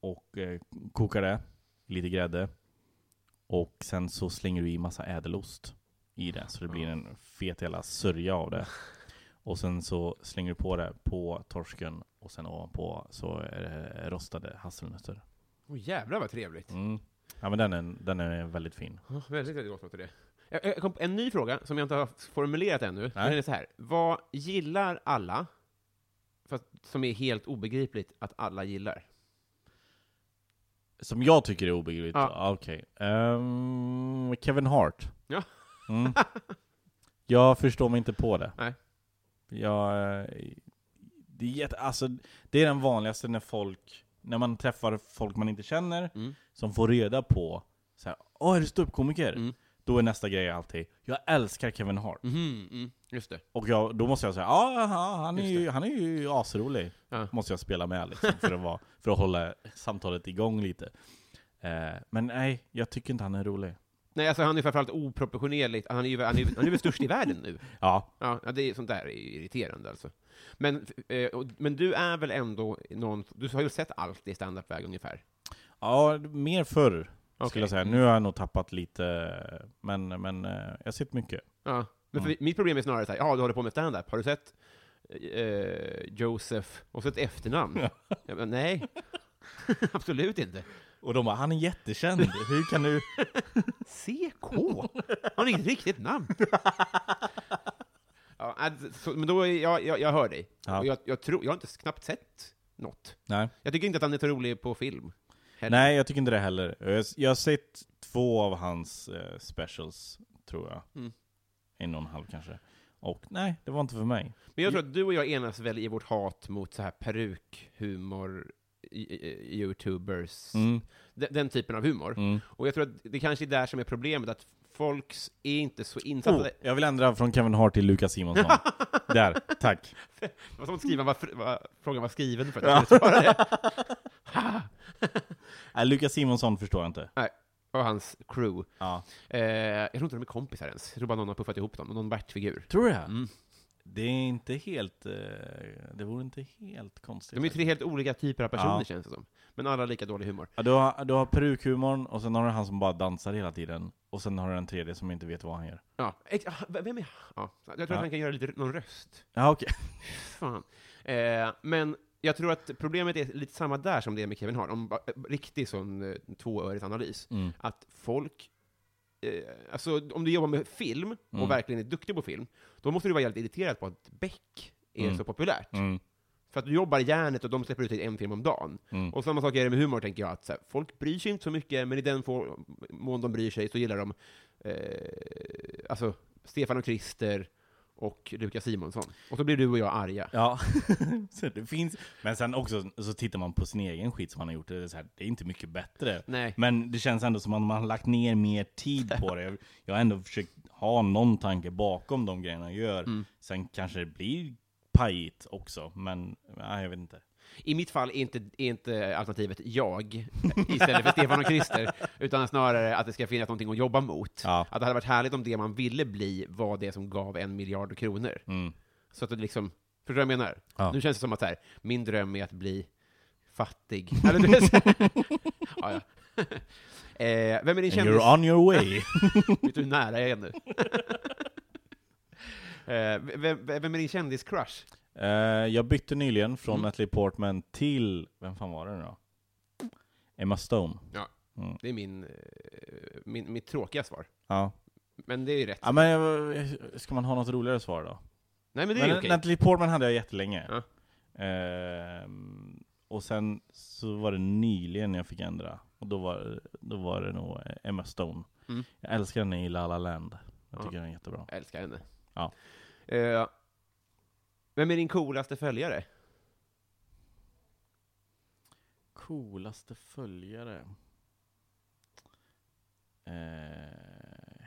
S2: och eh, kokar det. Lite grädde. Och sen så slänger du i massa ädelost i det, så det blir en fet jävla sörja av det. Och sen så slänger du på det på torsken och sen ovanpå så är det rostade hasselnötter.
S1: Åh jävlar vad trevligt.
S2: Mm. Ja men den är, den är väldigt fin.
S1: Ja, väldigt, väldigt gott låter det. Jag, jag kom på en ny fråga som jag inte har formulerat ännu.
S2: Nej.
S1: Den är så här. Vad gillar alla, fast som är helt obegripligt att alla gillar?
S2: Som jag tycker är obegripligt.
S1: Ja.
S2: Ja. Okej. Ehm, Kevin Hart.
S1: Ja.
S2: <laughs> Mm. Jag förstår mig inte på det.
S1: Nej.
S2: Jag, eh, det, är jätte, alltså, det är den vanligaste när folk, när man träffar folk man inte känner,
S1: Mm.
S2: som får reda på så här, Åh, är du ståuppkomiker?
S1: Mm.
S2: Då är nästa grej alltid, jag älskar Kevin Hart.
S1: Mhm, mm, just det.
S2: Och jag, då måste jag säga, ja aha, han, är
S1: Just
S2: ju, han är ju asrolig.
S1: Ja.
S2: Måste jag spela med liksom, för, att vara, för att hålla samtalet igång lite. Eh, men nej, jag tycker inte han är rolig.
S1: Nej, alltså han är framförallt oproportionerligt, han är ju han är, ju- han är väl störst i världen nu?
S2: Ja,
S1: Ja, ja, det är, sånt där är ju irriterande alltså. Men, eh, och- men du är väl ändå någon, du har ju sett allt i standupväg ungefär?
S2: ja mer förr
S1: Okej.
S2: skulle jag säga. Nu har jag nog tappat lite, men, men eh, jag har sett mycket.
S1: Ja. Men för
S2: Mm.
S1: mitt problem är snarare så här, ja, du håller på med stand-up, har du sett eh, Josef och så ett efternamn? Jag bara, nej, <laughs> absolut inte.
S2: Och de bara, han är jättekänd, hur kan du?
S1: CK? Har ni inget riktigt namn? ja, att- så, men då, är jag, jag, jag hör dig.
S2: <laughs> Ja.
S1: Och Jag, jag, tror, jag har inte s- knappt sett något.
S2: Nej.
S1: Jag tycker inte att han är så rolig på film. heller.
S2: nej, jag tycker inte det heller. Jag, jag har sett två av hans eh, specials, tror jag.
S1: Mm.
S2: En och en halv kanske. Och nej, det var inte för mig.
S1: Men jag tror att du och jag enas väl i vårt hat mot så här perukhumor, i- i- i- youtubers,
S2: Mm,
S1: de- den typen av humor.
S2: mm.
S1: Och jag tror att det kanske är där som är problemet, att folks är inte så insatta.
S2: Oh, jag vill ändra från Kevin Hart till Lukas Simonsson. Där, <laughs> tack.
S1: Det var som att skriva vad fr- vad frågan var skriven för att jag skulle svara det.
S2: <laughs> Nej, Lukas Simonsson förstår jag inte.
S1: Och hans crew.
S2: Ja.
S1: Eh, jag tror inte de är kompisar ens. Jag tror bara någon har puffat ihop dem, någon Bert-figur.
S2: Tror du det?
S1: Mm.
S2: Det är inte helt... eh, Det vore inte helt konstigt.
S1: De är ju tre helt olika typer av personer,
S2: Ja.
S1: känns det som. Men alla har lika dålig humor.
S2: Ja, du, har, du har perukhumorn, och sen har du han som bara dansar hela tiden. Och sen har du den tredje som inte vet vad han gör.
S1: Ja, ex- ah, v- vem är ja. Jag tror
S2: Ja.
S1: att han kan göra lite, någon röst.
S2: Ja, okej.
S1: Fan. Eh, men jag tror att problemet är lite samma där som det med Kevin Hart, om bara- riktig sån eh, tvåörig analys.
S2: Mm.
S1: att folk... Eh, alltså om du jobbar med film och
S2: Mm.
S1: verkligen är duktig på film, då måste du vara jävligt irriterad på att Beck är
S2: Mm.
S1: så populärt.
S2: Mm.
S1: För att du jobbar järnet och de släpper ut en film om dagen.
S2: Mm.
S1: Och samma sak är det med humor, tänker jag. Att så här, folk bryr sig inte så mycket, men i den få- mån de bryr sig så gillar de eh, alltså, Stefan och Krister och Lukas Simonsson. Och så blir du och jag arga.
S2: Ja, <laughs> så det finns. Men sen också så tittar man på sin egen skit som man har gjort. Det är, så här, det är inte mycket bättre.
S1: Nej.
S2: Men det känns ändå som att man har lagt ner mer tid på det. Jag- Jag har ändå försökt ha någon tanke bakom de grejerna jag gör. Sen kanske det blir pajigt också, men nej, jag vet inte.
S1: I mitt fall är inte, är inte alternativet jag istället för Stefan och Christer, utan snarare att det ska finnas någonting att jobba mot.
S2: Ja.
S1: Att det hade varit härligt om det man ville bli var det som gav en miljard kronor.
S2: Mm.
S1: Så att det liksom, förstår du vad jag menar?
S2: Ja.
S1: Nu känns det som att så här, min dröm är att bli fattig. <laughs> Eller du vet, så här. ja, <laughs> ja. eh, vem är din
S2: And
S1: kändis?
S2: you're on your way. <laughs>
S1: Vet du hur nära jag är nu? <laughs> eh, vem, vem är din kändis-crush?
S2: Eh, jag bytte nyligen från Natalie Portman till, vem fan var det nu då? Emma Stone.
S1: Det är min, eh, min, mitt tråkiga svar.
S2: Ja.
S1: Men det är ju rätt.
S2: ja, men eh, ska man ha något roligare svar då?
S1: Nej men det är ju
S2: Men
S1: okej.
S2: Natalie Portman hade jag jättelänge.
S1: Ja.
S2: Ehm, och sen så var det nyligen jag fick ändra. Och då var, då var det nog Emma Stone.
S1: Mm.
S2: Jag älskar henne i La La Land. Jag
S1: Ja.
S2: tycker den är jättebra.
S1: Jag älskar henne.
S2: Ja.
S1: Eh, vem är din coolaste följare?
S2: Coolaste följare? Eh,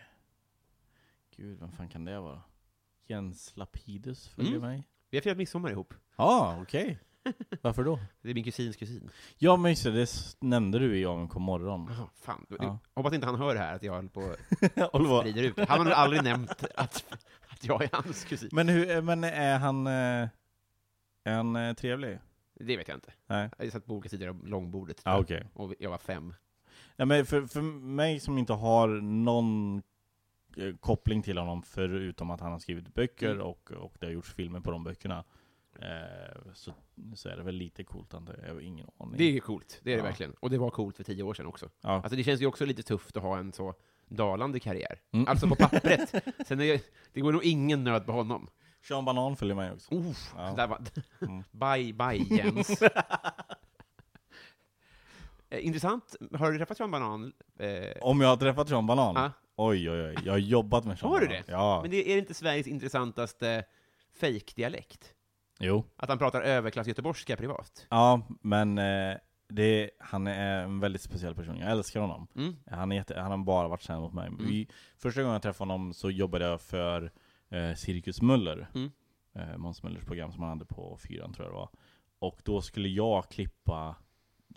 S2: gud, vem fan kan det vara? Jens Lapidus följer
S1: Mm.
S2: mig.
S1: Vi har firat midsommar ihop.
S2: Ja, <laughs> okej. Varför då?
S1: Det är min kusins kusin.
S2: Ja men just det, det s- nämnde du i Jag kom morgon.
S1: Jaha, fan.
S2: Ja.
S1: Hoppas inte han hör det här, att jag håller på och
S2: <laughs> Oliver,
S1: sprider ut det. Han har nog aldrig nämnt att, att jag är hans kusin.
S2: men, hur, men är han, eh, är han eh, trevlig?
S1: Det vet jag inte.
S2: Nej.
S1: Jag satt på olika sidor av långbordet.
S2: Ja okej. Mm.
S1: Och jag var fem.
S2: Nej men för, för mig som inte har någon eh, koppling till honom förutom att han har skrivit böcker
S1: Mm.
S2: och, och det har gjorts filmer på de böckerna. Eh, så, så är det väl lite coolt antar jag. Jag har ingen aning.
S1: Det är ju coolt, det är det
S2: Ja.
S1: verkligen. Och det var coolt för tio år sedan också.
S2: Ja.
S1: Alltså det känns ju också lite tufft att ha en så dalande karriär.
S2: Mm.
S1: Alltså på
S2: <laughs>
S1: pappret. Sen är, det går nog ingen nöd på honom.
S2: Sean Banan följer mig också.
S1: Oh,
S2: Ja.
S1: där var,
S2: Mm.
S1: <laughs> bye, bye
S2: <laughs>
S1: Jens. eh, intressant. Har du träffat Sean Banan? Eh,
S2: Om jag har träffat Sean Banan?
S1: Ja.
S2: Oj oj oj, jag har jobbat med Sean
S1: Har du
S2: Banan.
S1: det?
S2: Ja.
S1: Men det är inte Sveriges intressantaste fejkdialekt?
S2: Jo.
S1: Att han pratar överklass-göteborgska privat?
S2: Ja, men eh, det, han är en väldigt speciell person. Jag älskar honom.
S1: Mm.
S2: Han, är jätte, han har bara varit snäll mot mig. Vi, första gången jag träffade honom så jobbade jag för eh, Cirkus Möller.
S1: Mm.
S2: Eh, Måns Möllers program som han hade på fyran tror jag det var. Och då skulle jag klippa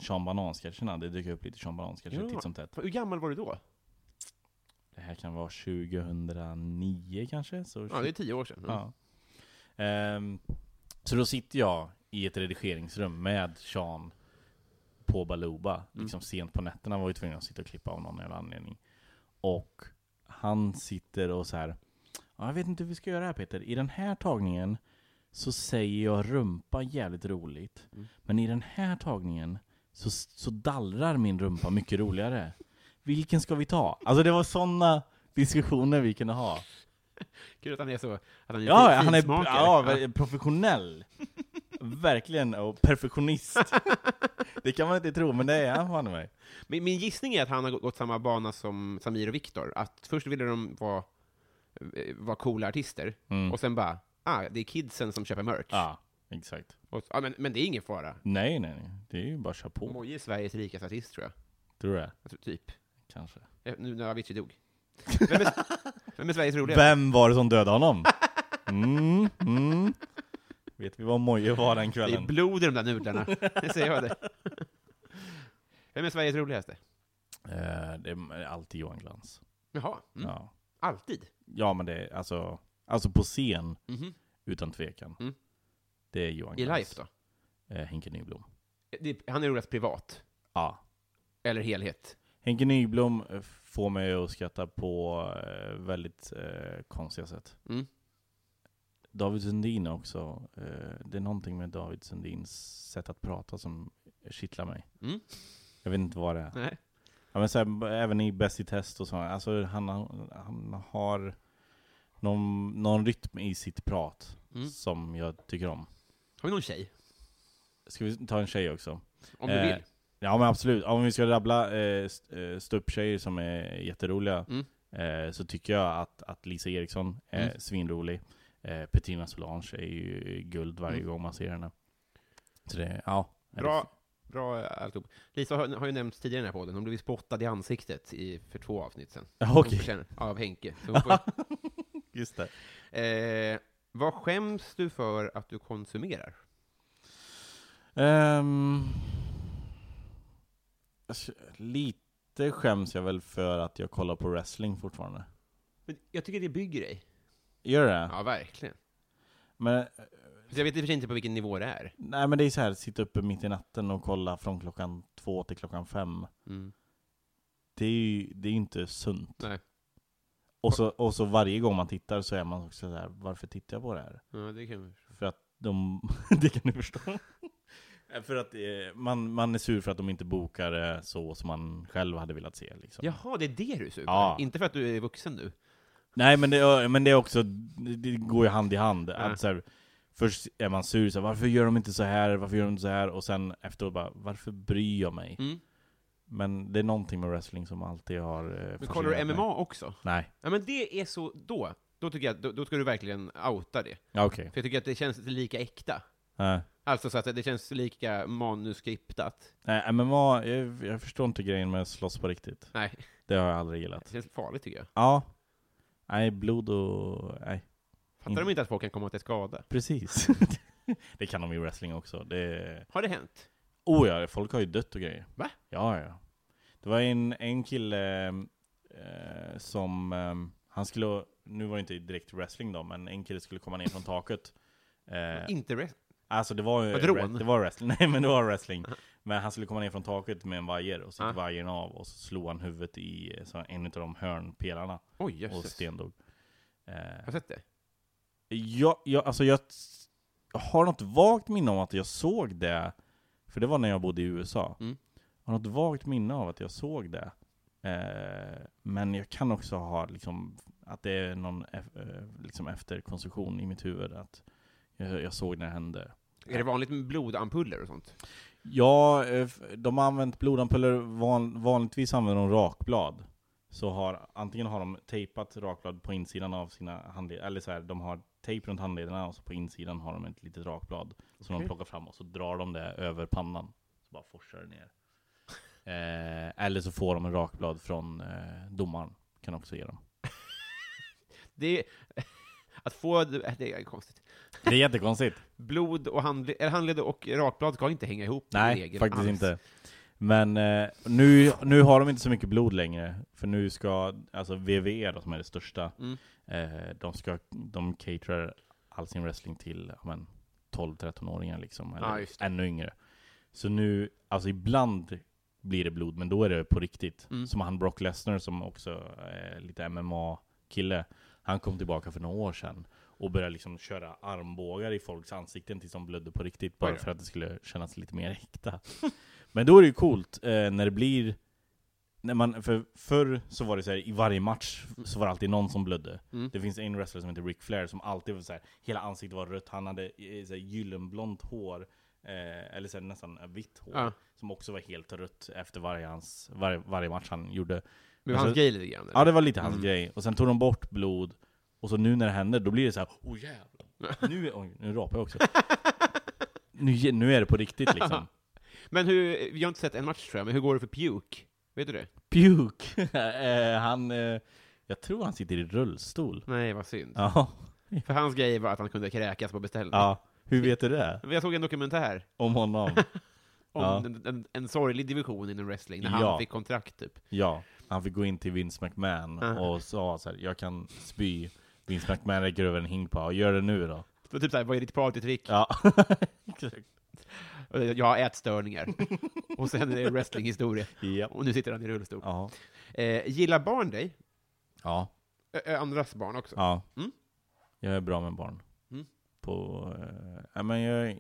S2: Sean Banan-sketcherna. Det dyker upp lite Sean Banan-sketcher
S1: Ja.
S2: titt som tätt.
S1: Hur gammal var du då?
S2: Det här kan vara 2009 kanske? Så
S1: Ja, det är tio år sedan. Mm.
S2: Ja. Ehm, så då sitter jag i ett redigeringsrum med Sean på Baluba, liksom sent på nätterna var vi tvungna att sitta och klippa av någon jävla anledning. Och han sitter och så här, "Ja, jag vet inte hur vi ska göra här Peter, i den här tagningen så säger jag rumpa jävligt roligt, men i den här tagningen så, så dallrar min rumpa mycket roligare. Vilken ska vi ta? Alltså det var sådana diskussioner vi kunde ha.
S1: Kul att han är så... Att han är
S2: Ja,
S1: fin-
S2: han är
S1: finsmakare.
S2: ja, ver- professionell. Verkligen, och perfektionist. Det kan man inte tro, men det är han fan i mig.
S1: Min, min gissning är att han har gått samma bana som Samir och Viktor. Att först ville de vara, eh, vara coola artister,
S2: Mm.
S1: och sen bara, ah, det är kidsen som köper merch.
S2: Ja, exakt.
S1: Och, så, ah, men, men det är ingen fara.
S2: Nej, nej, nej. Det är ju bara att köra på.
S1: Moje är Sveriges rikaste artist, tror jag.
S2: Tror jag,
S1: jag tror, typ.
S2: kanske.
S1: Eh, Nu när Avicii dog.
S2: <laughs>
S1: Vem är, vem är Sveriges roligaste?
S2: Vem var det som dödade honom? Mm, mm. Vet vi vad Moje var den
S1: Det är
S2: kvällen?
S1: blod i de där
S2: <laughs>
S1: nudlarna. Det säger jag det. Vem är Sveriges roligaste?
S2: Eh, Det är alltid Johan Glans.
S1: Jaha. Mm.
S2: Ja.
S1: Alltid.
S2: ja, men det är alltså, alltså på scen,
S1: Mhm.
S2: utan tvekan.
S1: Mm.
S2: Det är Johan
S1: I
S2: Glans.
S1: life då?
S2: Eh, Henke Nyblom.
S1: Det, han är roligast privat.
S2: Ja.
S1: Eller helhet.
S2: Henke Nyblom eh, får mig att skratta på eh, väldigt eh, konstiga sätt.
S1: Mm.
S2: David Sundin också. Eh, det är någonting med David Sundins sätt att prata som kittlar mig.
S1: Mm.
S2: Jag vet inte vad det är.
S1: Nej.
S2: Ja, men så här, b- även i Bäst i test och sådana. Alltså, han, har- han har någon, någon rytm i sitt prat
S1: Mm.
S2: som jag tycker om.
S1: Har vi någon tjej?
S2: Ska vi ta en tjej också?
S1: Om du
S2: Eh,
S1: vill.
S2: Ja men absolut, om vi ska rabbla eh, st- eh, ståupptjejer som är jätteroliga
S1: Mm.
S2: eh, Så tycker jag att, att Lisa Eriksson är
S1: Mm.
S2: svinrolig eh, Petrina Solange är ju guld varje
S1: Mm.
S2: gång man ser henne Så det, ja
S1: Bra, bra eh, alltihop. Lisa har, har ju nämnts tidigare i den här podden, hon blev ju spottad i ansiktet i, för två avsnitt sen.
S2: Ja,
S1: Hon
S2: <laughs> Okej,
S1: förtjänar- Av Henke. Så
S2: <laughs>
S1: hon får,
S2: just det
S1: eh, vad skäms du för att du konsumerar?
S2: Ehm, alltså, Lite skäms jag väl för att jag kollar på wrestling fortfarande
S1: Men jag tycker det bygger dig.
S2: Gör det?
S1: Ja, verkligen.
S2: Men,
S1: Så Jag vet i och för sig inte på vilken nivå det är.
S2: nej men det är så här, sitta uppe mitt i natten och kolla från klockan två till klockan fem
S1: Mm.
S2: det är ju det är ju inte sunt.
S1: Nej.
S2: Och, så, och så varje gång man tittar så är man också där, varför tittar jag på det här?
S1: Ja, det kan...
S2: För att de, <laughs> det kan
S1: <laughs>
S2: du förstå. Eh, för att eh, man, man är sur för att de inte bokar eh, så som man själv hade velat se. Liksom.
S1: Jaha, det är det du är sur på?
S2: Ja.
S1: Mm. Inte för att du är vuxen nu?
S2: Nej men det, men det är också, det går ju hand i hand. Att så här, först är man sur, så här, varför gör de inte så här, varför gör de inte så här? Och sen efteråt bara, varför bryr jag mig?
S1: Mm.
S2: Men det är någonting med wrestling som alltid har eh,
S1: Men
S2: fascinerat
S1: kollar du
S2: mig.
S1: MMA också?
S2: Nej,
S1: Ja, men det är så, då, då tycker jag att, då, då ska du verkligen outa det.
S2: ja okej. Eh.
S1: För jag tycker att det känns lika äkta.
S2: Nej.
S1: Alltså så att det känns lika manuskriptat.
S2: Nej, MMA, jag, jag förstår inte grejen med att slåss på riktigt.
S1: Nej,
S2: Det har jag aldrig
S1: det
S2: gillat.
S1: känns farligt tycker jag.
S2: Ja. Nej, blod och... Nej,
S1: Fattar
S2: Mm.
S1: de inte att folk kan komma till skada?
S2: precis. det kan de ju i wrestling också. Det...
S1: Har det hänt?
S2: Oh ja, folk har ju dött och grejer.
S1: Va?
S2: Ja, ja. Det var en, en kille eh, som, ehm, han skulle, nu var det inte direkt wrestling då, men en kille skulle komma ner från taket. Eh,
S1: Inte rest.
S2: alltså det var ju,
S1: Var det rån?
S2: det var wrestling, <laughs> nej men det var wrestling. Men han skulle komma ner från taket med en vajer, och så
S1: Ah.
S2: gick vajern av, och så slog han huvudet i eh, så en av de hörnpelarna,
S1: Oj,
S2: och
S1: jösses. Har
S2: Sten dog. Eh,
S1: du sett det?
S2: jag, jag, alltså jag s- har något vagt minne om att jag såg det, för det var när jag bodde i USA.
S1: Mm.
S2: Jag har något vagt minne av att jag såg det. Eh, men jag kan också ha liksom, att det är någon eff- eh, liksom efterkonstruktion i mitt huvud, att jag, jag såg när det hände.
S1: Är det vanligt med blodampuller och sånt?
S2: Ja, eh, f- de har använt blodampuller, van, vanligtvis använder de rakblad. Så har, antingen har de tejpat rakblad på insidan av sina handleder, eller så här, de har tejp runt handlederna och så på insidan har de ett litet rakblad som de
S1: Okej.
S2: plockar fram och så drar de det över pannan. Så bara forsar det ner. Eh, eller så får de en rakblad från eh, domaren, kan också ge dem.
S1: Det är... <laughs> Att få... äh, Det är konstigt.
S2: Det är jättekonstigt.
S1: Blod och handled, eller handled och rakblad ska inte hänga ihop. i
S2: Nej,
S1: regel
S2: faktiskt
S1: alls.
S2: inte. Men eh, nu, nu har de inte så mycket blod längre, för nu ska, alltså WWE då, som är det största,
S1: Mm.
S2: eh, de, ska, de caterar all sin wrestling till ja, men, 12-13-åringar liksom, eller
S1: Ja, just det.
S2: ännu yngre. Så nu, alltså ibland blir det blod, men då är det på riktigt.
S1: Mm.
S2: Som han Brock Lesnar, som också är lite MMA-kille, han kom tillbaka för några år sedan och började liksom köra armbågar i folks ansikten tills de blödde på riktigt, bara
S1: Oj då.
S2: för att det skulle kännas lite mer äkta. <laughs> Men då är det ju coolt eh, när det blir när man, för förr så var det så här, i varje match så var det alltid någon som blödde.
S1: Mm.
S2: Det finns en wrestler som heter Ric Flair som alltid var så här, hela ansiktet var rött, han hade eh, så här, gyllenblont hår, eh, eller så här, nästan eh, vitt hår,
S1: Ja.
S2: som också var helt rött efter varje, hans, varje, varje match han gjorde.
S1: Men hans
S2: Alltså-
S1: grej lite grann.
S2: Ja det var lite hans
S1: Mm.
S2: grej, och sen tog de bort blod, och så nu när det händer, då blir det så här, oh jävlar. Nu, är- oj, nu rapar jag också. Nu, nu är det på riktigt liksom.
S1: Men hur, vi har inte sett en match tror jag, men hur går det för Puke? Vet du det?
S2: Puke! <laughs> Eh, han, eh, jag tror han sitter i rullstol.
S1: Nej, vad synd.
S2: Ja.
S1: För hans grej var att han kunde kräkas på beställning.
S2: ja. Hur vet du det?
S1: Men Jag såg en dokumentär
S2: Om honom?
S1: om
S2: Ja.
S1: en, en, en sorglig division inom wrestling, när han
S2: Ja.
S1: fick kontrakt typ.
S2: Ja. Han fick gå in till Vince McMahon
S1: Ah.
S2: och sa så här, jag kan spy. Vince McMahon räcker över en hink på, gör det nu då.
S1: Så typ såhär, vad är ditt partytrick?
S2: Ja. <laughs>
S1: Och Jag har ätstörningar. och sen är det wrestlinghistoria.
S2: ja.
S1: Och nu sitter han i rullstol.
S2: Ja.
S1: Eh, gillar barn dig?
S2: Ja.
S1: Ö, ö, andras barn också?
S2: ja.
S1: Mm.
S2: Jag är bra med barn.
S1: Mm.
S2: På, eh, ja, men jag,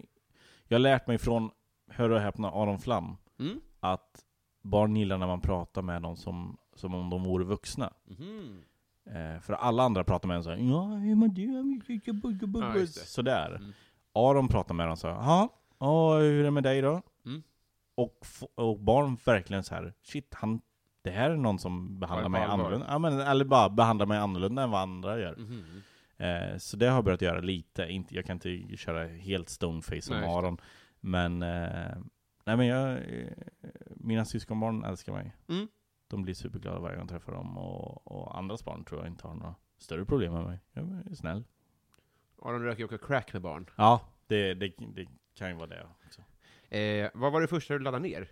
S2: jag har lärt mig från, hör och häpna, Aron Flam.
S1: Mm?
S2: att barn gillar när man pratar med dem som, som om de vore vuxna.
S1: Mhm.
S2: Eh, för alla andra pratar med dem så här, ja, hur mår du?
S1: Ja, just det.
S2: Sådär.
S1: Mm.
S2: Aron pratar med dem så här, "Jaha, ja, hur är det med dig då?
S1: Mm.
S2: Och, f- och barn verkligen så här, shit, han, det här är någon som behandlar
S1: på
S2: mig
S1: allvar."
S2: annorlunda. Ja, men, eller bara behandlar mig annorlunda än vad andra gör.
S1: Mhm.
S2: Eh, så det har jag börjat göra lite. Inte, jag kan inte köra helt stoneface som
S1: Nej, just det.
S2: Aron. Men, eh, nej, men jag, eh, mina syskonbarn älskar mig.
S1: Mm.
S2: De blir superglada varje gång jag träffar dem. Och, och andras barn tror jag inte har några större problem med mig. Jag är snäll.
S1: Aron röker ju också crack med barn.
S2: Ja, det, det, det kan ju vara det också.
S1: Eh, vad var det första du laddade ner?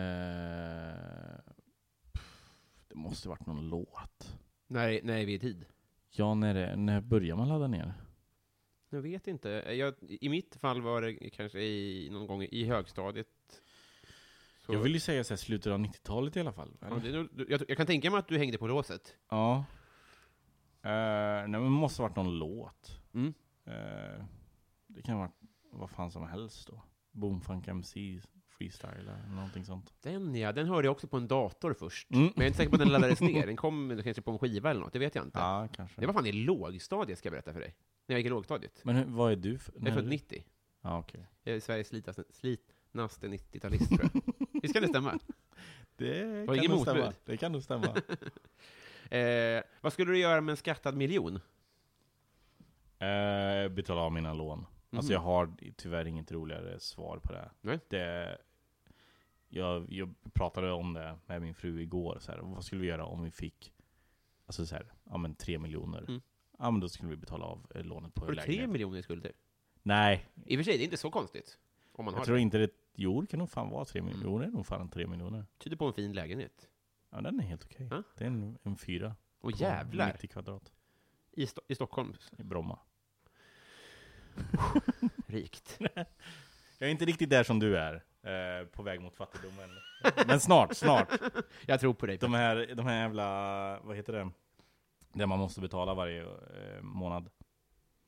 S2: Eh, pff, det måste varit någon låt.
S1: Nej, nej, vi är i tid.
S2: Ja, när, det, när börjar man ladda ner?
S1: Jag vet inte. Jag, I mitt fall var det kanske i, någon gång i högstadiet. Så-
S2: Jag vill ju säga så här, slutet av 90-talet i alla fall.
S1: Ja, det är nog- du- jag, jag kan tänka mig att du hängde på låset.
S2: Ja. Eh, nej men det måste ha varit någon låt.
S1: Mm.
S2: Eh, det kan ha varit vad fan som helst då. Boomfunk MC, freestyle eller någonting sånt.
S1: Den ja, den hörde jag också på en dator först.
S2: Mm.
S1: Men jag är inte säker på att den laddades ner. Den kom kanske typ på en skiva eller något, det vet jag inte.
S2: <laughs> Ja, kanske.
S1: Det var fan i lågstadiet, ska jag berätta för dig. När jag gick i lågstadiet.
S2: Men hur, vad är du för?
S1: Jag är
S2: när
S1: född
S2: du-
S1: 90.
S2: Ja, okej.
S1: Jag är Sveriges slitaste, slitnaste 90-talist, tror jag. Visst kan det stämma?
S2: Det
S1: Var
S2: kan
S1: ingen
S2: nog stämma.
S1: motbud.
S2: Det kan nog stämma.
S1: Eh, vad skulle du göra med en skattad miljon?
S2: <laughs> eh, betala av mina lån. Alltså
S1: Mhm.
S2: jag har tyvärr inget roligare svar på det.
S1: Nej.
S2: det jag, jag pratade om det med min fru igår. Så här, vad skulle vi göra om vi fick alltså så här, ja, men tre miljoner?
S1: Mm.
S2: Ja, men då skulle vi betala av eh, lånet på
S1: Har du tre
S2: lägenheten.
S1: miljoner i skulder?
S2: Nej,
S1: I och för sig, det är inte så konstigt. Om man
S2: jag
S1: har
S2: tror
S1: det. Mm.
S2: inte det. Jo, det kan nog fan vara tre miljoner. Jo, det är nog fan tre miljoner.
S1: Tyder på en fin lägenhet.
S2: Ja, den är helt okej.
S1: Ja.
S2: Det är en, en fyra.
S1: Och
S2: på
S1: jävlar!
S2: 90 kvadrat
S1: I, Sto- I Stockholm.
S2: i Bromma.
S1: Rikt.
S2: Jag är inte riktigt där som du är, eh, på väg
S1: <laughs>
S2: mot fattigdomen. Men snart, snart.
S1: Jag tror på dig.
S2: De här, de här jävla, vad heter det? Det man måste betala varje eh, månad.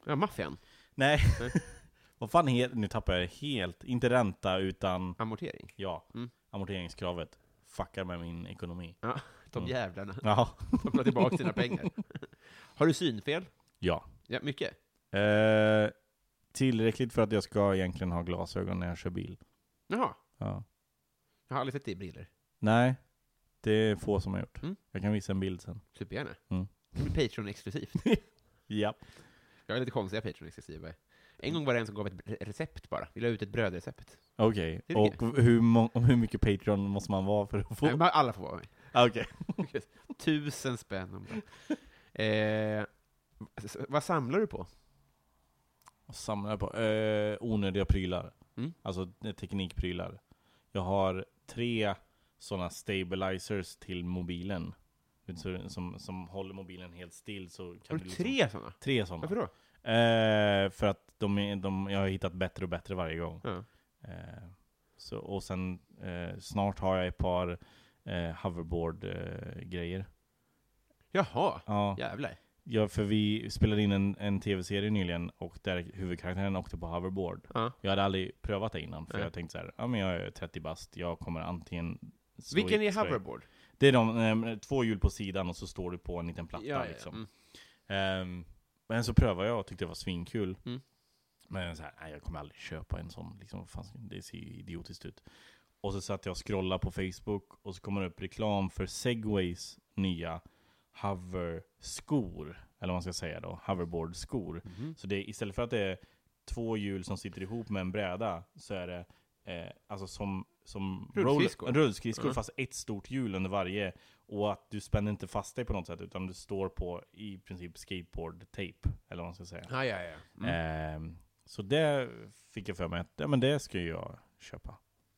S1: Ja, maffian.
S2: Nej.
S1: Nej.
S2: vad fan heter, nu tappar jag helt, inte ränta utan,
S1: Amortering.
S2: ja,
S1: Mm.
S2: amorteringskravet. Fuckar med min ekonomi.
S1: De
S2: Mm.
S1: jävlarna.
S2: Ja.
S1: De tar tillbaka sina
S2: <laughs>
S1: pengar. Har du synfel?
S2: ja.
S1: Ja, mycket.
S2: Eh, tillräckligt för att jag ska egentligen ha glasögon när jag kör bil.
S1: Jaha.
S2: Ja.
S1: Jag har aldrig sett dig i briller.
S2: Nej, det är få som har gjort.
S1: Mm.
S2: Jag kan visa en bild sen.
S1: Supergärna.
S2: Mm.
S1: Det blir Patreon-exklusivt.
S2: <laughs> Ja.
S1: Jag är lite konstiga Patreon-exklusiva. En gång var det en som gav ett re- recept bara. Vi la ut ett brödrecept.
S2: Okej,
S1: Det är
S2: och hur, må- hur mycket Patreon måste man vara för att få?
S1: Nej, men alla får vara med.
S2: Ah, Okej.
S1: Tusen spänn om dagen. Eh, s- vad samlar du på?
S2: Vad samlar jag på? Eh, onödiga prylar.
S1: Mm.
S2: Alltså eh, teknikprylar. Jag har tre sådana stabilizers till mobilen. Vet du, så- Som, som håller mobilen helt still så kan
S1: Har
S2: du
S1: du
S2: liksom,
S1: tre sådana?
S2: Tre sådana.
S1: Varför då?
S2: Eh, för att de, är, de, jag har hittat bättre och bättre varje gång.
S1: Ja.
S2: Eh, så, och sen eh, snart har jag ett par eh, hoverboard-grejer.
S1: Jaha,
S2: ja.
S1: jävlar.
S2: Ja, för vi spelade in en, en tv-serie nyligen och där huvudkaraktären åkte på hoverboard.
S1: Ja.
S2: Jag hade aldrig prövat det innan, för
S1: Nej.
S2: jag tänkte så här, ja men jag är 30 bast, jag kommer antingen slå
S1: Vilken
S2: i-
S1: är
S2: slå i-"
S1: hoverboard?
S2: Det är de, eh, två hjul på sidan och så står du på en liten platta liksom.
S1: Mm.
S2: Ehm, men så prövade jag och tyckte det var svinkul.
S1: Mm.
S2: Men så här, nej, jag kommer aldrig köpa en sån. Liksom, vad fan, ska- det ser ju idiotiskt ut. Och så satt jag och scrollade på Facebook och så kommer det upp reklam för Segways nya hover-skor. Eller vad man ska säga då, hoverboard-skor.
S1: Mhm.
S2: Så det, istället för att det är två hjul som sitter ihop med en bräda så är det eh, alltså som, som roll-
S1: Rullskridskor.
S2: rullskridskor
S1: Ja.
S2: fast ett stort hjul under varje. Och att du spänner inte fast dig på något sätt utan du står på i princip skateboardtejp. Eller vad man ska säga.
S1: Ah, ja, ja. Mm.
S2: Eh, så det fick jag för mig att ja, men det ska ju jag köpa.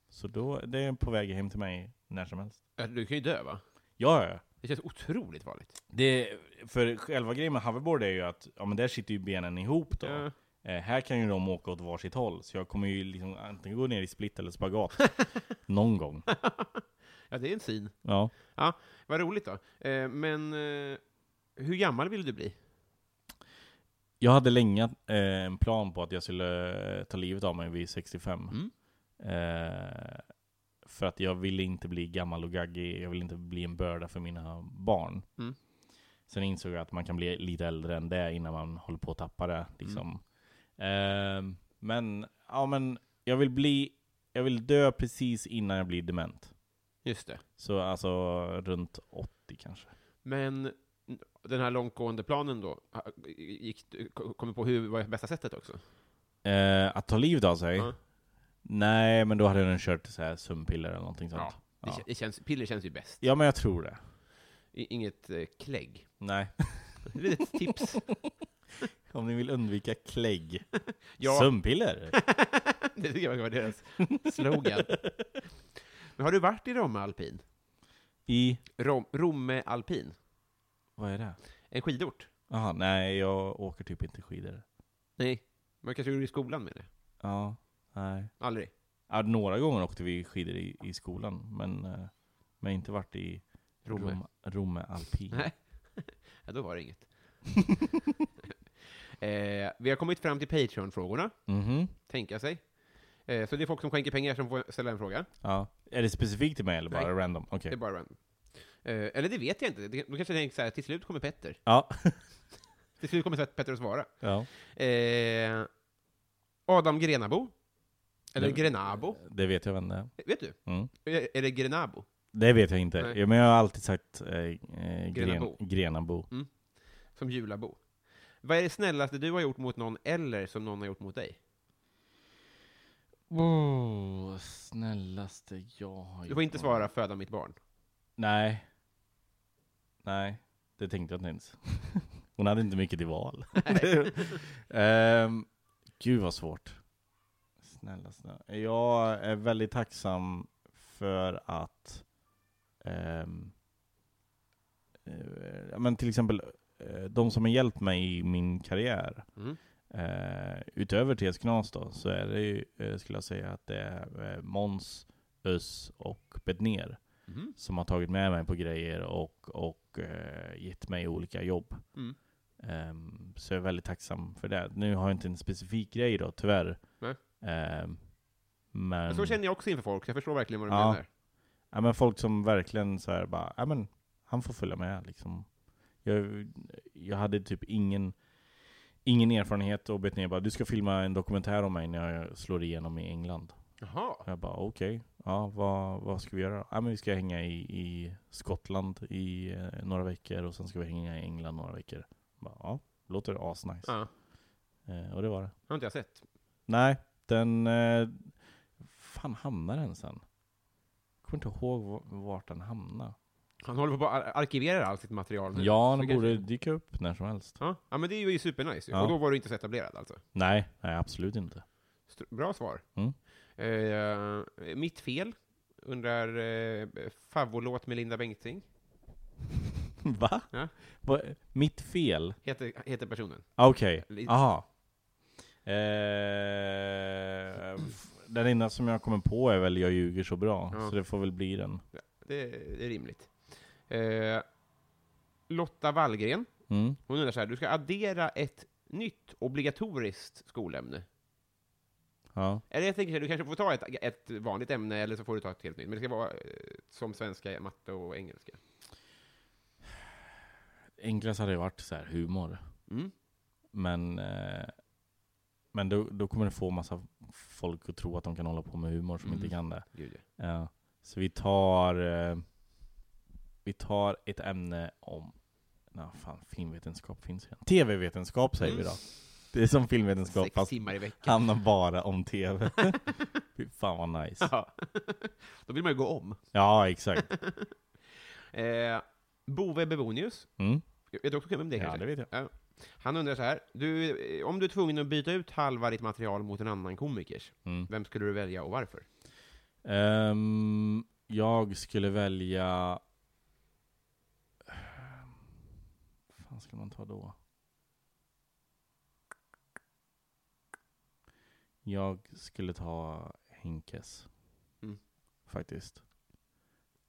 S2: Så då, det är på väg hem till mig när som helst.
S1: Ja, Du kan ju dö, va?
S2: Ja, ja, ja.
S1: Det känns otroligt farligt.
S2: Det, för själva grejen med hoverboard är ju att ja, men där sitter ju benen ihop då.
S1: Ja.
S2: Eh, här kan ju de åka åt varsitt håll, så jag kommer ju liksom antingen gå ner i split
S1: <laughs>
S2: eller spagat. Någon gång.
S1: ja, det är en syn.
S2: Ja.
S1: Vad roligt då. Eh, men eh, hur gammal vill du bli?
S2: Jag hade länge eh, en plan på att jag skulle eh, ta livet av mig vid 65.
S1: Mm.
S2: Eh, för att jag ville inte bli gammal och gaggig, jag ville inte bli en börda för mina barn.
S1: Mm.
S2: Sen insåg jag att man kan bli lite äldre än det innan man håller på att tappa det. Liksom. Eh, men, ja, men jag, vill bli, jag vill dö precis innan jag blir dement.
S1: Just det.
S2: Så alltså runt 80 kanske.
S1: Men n- den här långtgående planen då, ha- gick, du- ko- kom du på hur, vad är bästa sättet också?
S2: Eh, att ta livet av sig?
S1: Ja.
S2: Nej, men då hade jag nog kört så här sömnpiller eller någonting sånt.
S1: Ja. Det,
S2: Ja.
S1: kä- det känns, piller känns ju bäst.
S2: Ja, men jag tror det.
S1: I, inget eh, <laughs> klägg.
S2: Nej.
S1: Det är ett
S2: <laughs>
S1: tips.
S2: Om ni vill undvika klägg.
S1: Ja.
S2: Sömnpiller?
S1: <laughs> det tycker jag var deras slogan. Men har du varit i Romme alpin?
S2: I...
S1: Rom, Romme alpin?
S2: Vad är det?
S1: En skidort?
S2: Jaha, nej, jag åker typ inte skidor.
S1: Nej. Man kanske gjorde i skolan med det?
S2: Ja, nej.
S1: Aldrig?
S2: Ja, några gånger åkte vi skidor i, i skolan, men, eh, men inte varit i
S1: Romme?
S2: Rom- Romme alpin.
S1: Nej. Ja, då var det <laughs> inget. eh, vi har kommit fram till Patreon-frågorna,
S2: Mhm.
S1: tänka sig. Eh, så det är folk som skänker pengar som får ställa en fråga.
S2: Ja. Är det specifikt till mig eller bara
S1: Nej.
S2: random? Okej.
S1: Det är bara random. Eh, eller det vet jag inte. Det- De kanske tänker så här, till slut kommer Petter.
S2: Ja.
S1: Till slut kommer Petter att svara.
S2: <laughs> ja.
S1: Eh, Adam Grenabo. Eller
S2: Det-
S1: Grenabo.
S2: Det vet jag vem det är.
S1: Vet du?
S2: Mm.
S1: Eh, Är det Grenabo?
S2: Det vet jag inte.
S1: Nej.
S2: Ja, men jag har alltid sagt eh, eh,
S1: Grenabo.
S2: Gren, Grenabo.
S1: Som julabo. Vad är det snällaste du har gjort mot någon eller som någon har gjort mot dig?
S2: Oh, snällaste jag har
S1: Du får inte svara föda mitt barn.
S2: Nej. Nej, det tänkte jag inte ens. <laughs> Hon hade inte mycket
S1: <laughs>
S2: till val. <laughs> um, gud vad svårt. Snälla, snälla. Jag är väldigt tacksam för att ehm, eh, ja, men till exempel eh, de som har hjälpt mig i min karriär.
S1: Mm.
S2: Eh, utöver TS Knas då, så är det ju, eh, skulle jag säga att det är eh, Måns, Öss och Bednér
S1: Mhm.
S2: som har tagit med mig på grejer och, och eh, gett mig olika jobb.
S1: Mm.
S2: Ehm, så jag är väldigt tacksam för det. Nu har jag inte en specifik grej då, tyvärr.
S1: Nej.
S2: Ehm, men,
S1: Men Så känner jag också inför folk, så jag förstår verkligen vad du
S2: Mm. Ja.
S1: menar.
S2: ja, men folk som verkligen så här bara, ja men han får följa med liksom. Jag, jag hade typ ingen, ingen erfarenhet och bett ner bara, du ska filma en dokumentär om mig när jag slår igenom i England.
S1: Jaha.
S2: Och Jag bara okej, ja, vad, vad ska vi göra då? Ja, men vi ska hänga i, i Skottland i eh, några veckor och sen ska vi hänga i England några veckor. Jag Bara, ja, låter asnice.
S1: Ja,
S2: Eh, och det var det.
S1: har inte jag sett.
S2: Nej, den... Eh, fan hamnade den sen? Jag kommer inte ihåg va- vart den hamnade.
S1: Han håller på att ar- arkivera allt sitt material nu.
S2: Ja,
S1: Så
S2: den
S1: kanske-
S2: borde dyka upp när som helst.
S1: Ja. ja, men det är ju supernice. ju.
S2: Ja.
S1: Och då var du inte så etablerad alltså.
S2: Nej, nej absolut <laughs> inte.
S1: Str- Bra svar.
S2: Mm.
S1: Eh, mitt fel, undrar eh, favvolåt med Linda Bengtzing,
S2: Va?
S1: Ja.
S2: Va? Mitt fel? Ah,
S1: heter, heter personen.
S2: Okej,
S1: Lite.
S2: aha. Eh, f- den enda som jag kommer på är väl Jag ljuger så bra,
S1: Ja.
S2: så det får väl bli den.
S1: Det, det är rimligt. Eh, Lotta Wallgren,
S2: Mm.
S1: hon undrar så här, du ska addera ett nytt obligatoriskt skolämne.
S2: Ja.
S1: Eller jag tänker så här, du kanske får ta ett, ett vanligt ämne, eller så får du ta ett helt nytt. Men det ska vara eh, som svenska, matte och engelska.
S2: Enklast hade ju varit så här humor,
S1: Mm.
S2: men, eh, men då, då kommer det få massa folk att tro att de kan hålla på med humor som
S1: Mm.
S2: inte kan det.
S1: Gud, ja.
S2: Ja. Så vi tar, eh, vi tar ett ämne om, na, fan filmvetenskap finns redan. TV-vetenskap säger vi då. Det är som filmvetenskap
S1: Mm. Sex
S2: fast
S1: timmar i veckan.
S2: Handlar bara om TV. <laughs> Fy Fan vad <laughs> nice.
S1: <laughs> Ja. <laughs> Då vill man ju gå om.
S2: Ja, exakt.
S1: Eh, Bove Bebonius,
S2: Mm.
S1: vet du också vem det är
S2: Ja,
S1: kanske?
S2: det vet jag.
S1: Han undrar så här, du, eh, om du är tvungen att byta ut halva ditt material mot en annan komikers,
S2: Mm.
S1: vem skulle du välja och varför?
S2: Ehm, jag skulle välja... Vad fan skulle man ta då? Jag skulle ta Henkes.
S1: Mm.
S2: Faktiskt.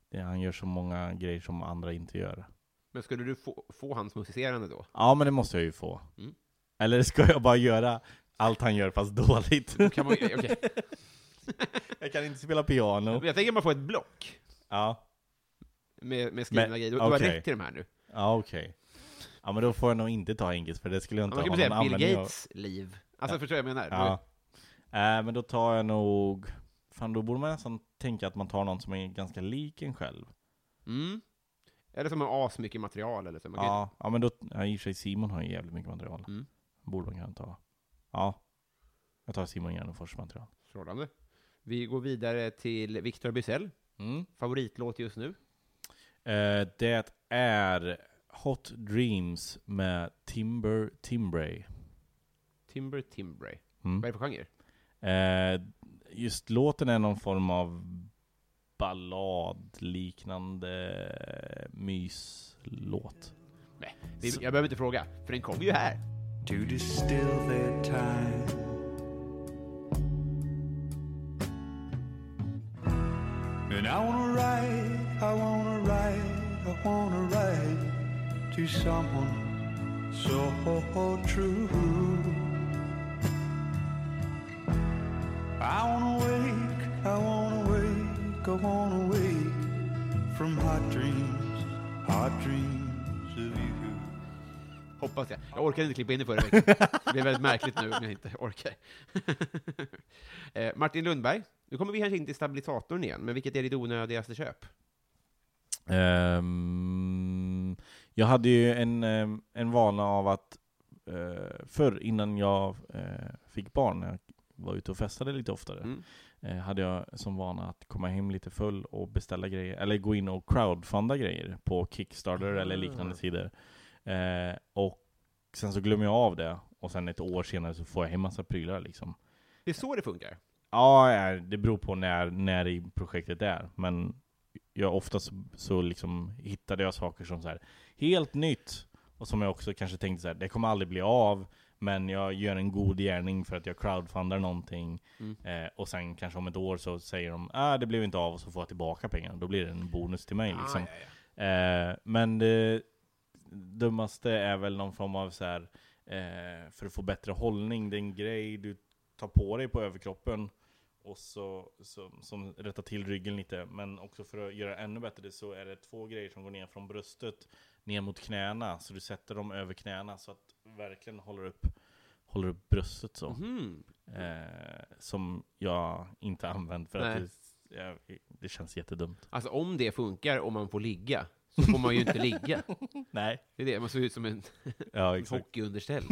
S2: Det, han gör så många grejer som andra inte gör.
S1: Men skulle du få, få hans musicerande då?
S2: Ja, men det måste jag ju få.
S1: Mm.
S2: Eller ska jag bara göra allt han gör fast dåligt?
S1: då kan man, ju- okej.
S2: <laughs> jag kan inte spela piano.
S1: Jag tänker att man får ett block
S2: Ja,
S1: med, med skrivna
S2: Men,
S1: grejer. Du, du har
S2: okej.
S1: rätt till de här nu.
S2: ja okej. Ja, men då får jag nog inte ta Ingis för det skulle jag inte
S1: Man kan
S2: ha
S1: ju säga
S2: någon
S1: Bill
S2: användning av.
S1: Gates liv. Alltså, förstår du vad jag menar?
S2: Ja. Eh, men då tar jag nog... Fan, då borde man nästan tänka att man tar någon som är ganska lik en själv.
S1: Mm. Eller som har asmycket material eller så. Man kan ju-
S2: Ja, ja, men då... Ja, I och för sig, Simon har ju jävligt mycket material.
S1: Mm.
S2: Borde man kunna ta. Ja. Jag tar Simon Gärdenfors material.
S1: Strålande. Vi går vidare till Victor Bysell,
S2: Mm.
S1: favoritlåt just nu.
S2: Eh, det är Hot Dreams med Timber Timbray.
S1: Timber Timbray.
S2: Mm.
S1: Vad är det för genre?
S2: Eh, just låten är någon form av balladliknande eh, myslåt.
S1: Nej, vi, jag behöver inte fråga, för den kommer ju här.
S4: to distill their time. And I wanna ride, I wanna ride, I wanna ride to someone so true. I wanna wake, I wanna wake, I wanna wake from hot dreams, hot dreams of you.
S1: Hoppas jag. Jag orkade inte klippa in det förra veckan. Det blir väldigt märkligt nu om jag inte orkar. <laughs> eh, Martin Lundberg, nu kommer vi kanske in till stabilisatorn igen, men vilket är ditt onödigaste köp?
S2: Ehm, jag hade ju en, ehm, en vana av att eh, förr innan jag eh, fick barn, när jag var ute och festade lite oftare,
S1: Mm.
S2: eh, hade jag som vana att komma hem lite full och beställa grejer, eller gå in och crowdfunda grejer på Kickstarter eller liknande
S1: Ah.
S2: sidor. Eh, och sen så glömmer jag av det, och sen ett år senare så får jag hem massa prylar liksom.
S1: Det är så det funkar.
S2: Ja, ja, det beror på när, när i projektet det är. Men jag oftast så, så liksom hittade jag saker som så här helt nytt. Och som jag också kanske tänkte så här, det kommer aldrig bli av. Men jag gör en god gärning för att jag crowdfundar någonting.
S1: Mm.
S2: Eh, och sen kanske om ett år så säger de, ah, det blev inte av och så får jag tillbaka pengarna. Då blir det en bonus till mig liksom.
S1: Ah, ja, ja.
S2: Eh, men det dummaste är väl någon form av så här, eh, för att få bättre hållning, det är en grej du tar på dig på överkroppen och så, så, som rättar till ryggen lite. Men också för att göra det ännu bättre så är det två grejer som går ner från bröstet ner mot knäna, så du sätter dem över knäna så att du verkligen håller upp, håller upp bröstet så.
S1: Mhm.
S2: Eh, som jag inte använt för
S1: Nej.
S2: att det, jag, det känns jättedumt.
S1: Alltså om det funkar och man får ligga, så får man ju inte ligga.
S2: Nej.
S1: Det är det, man ser ut som en <laughs>
S2: Ja,
S1: Exakt.
S2: exakt.
S1: Hockeyunderställ.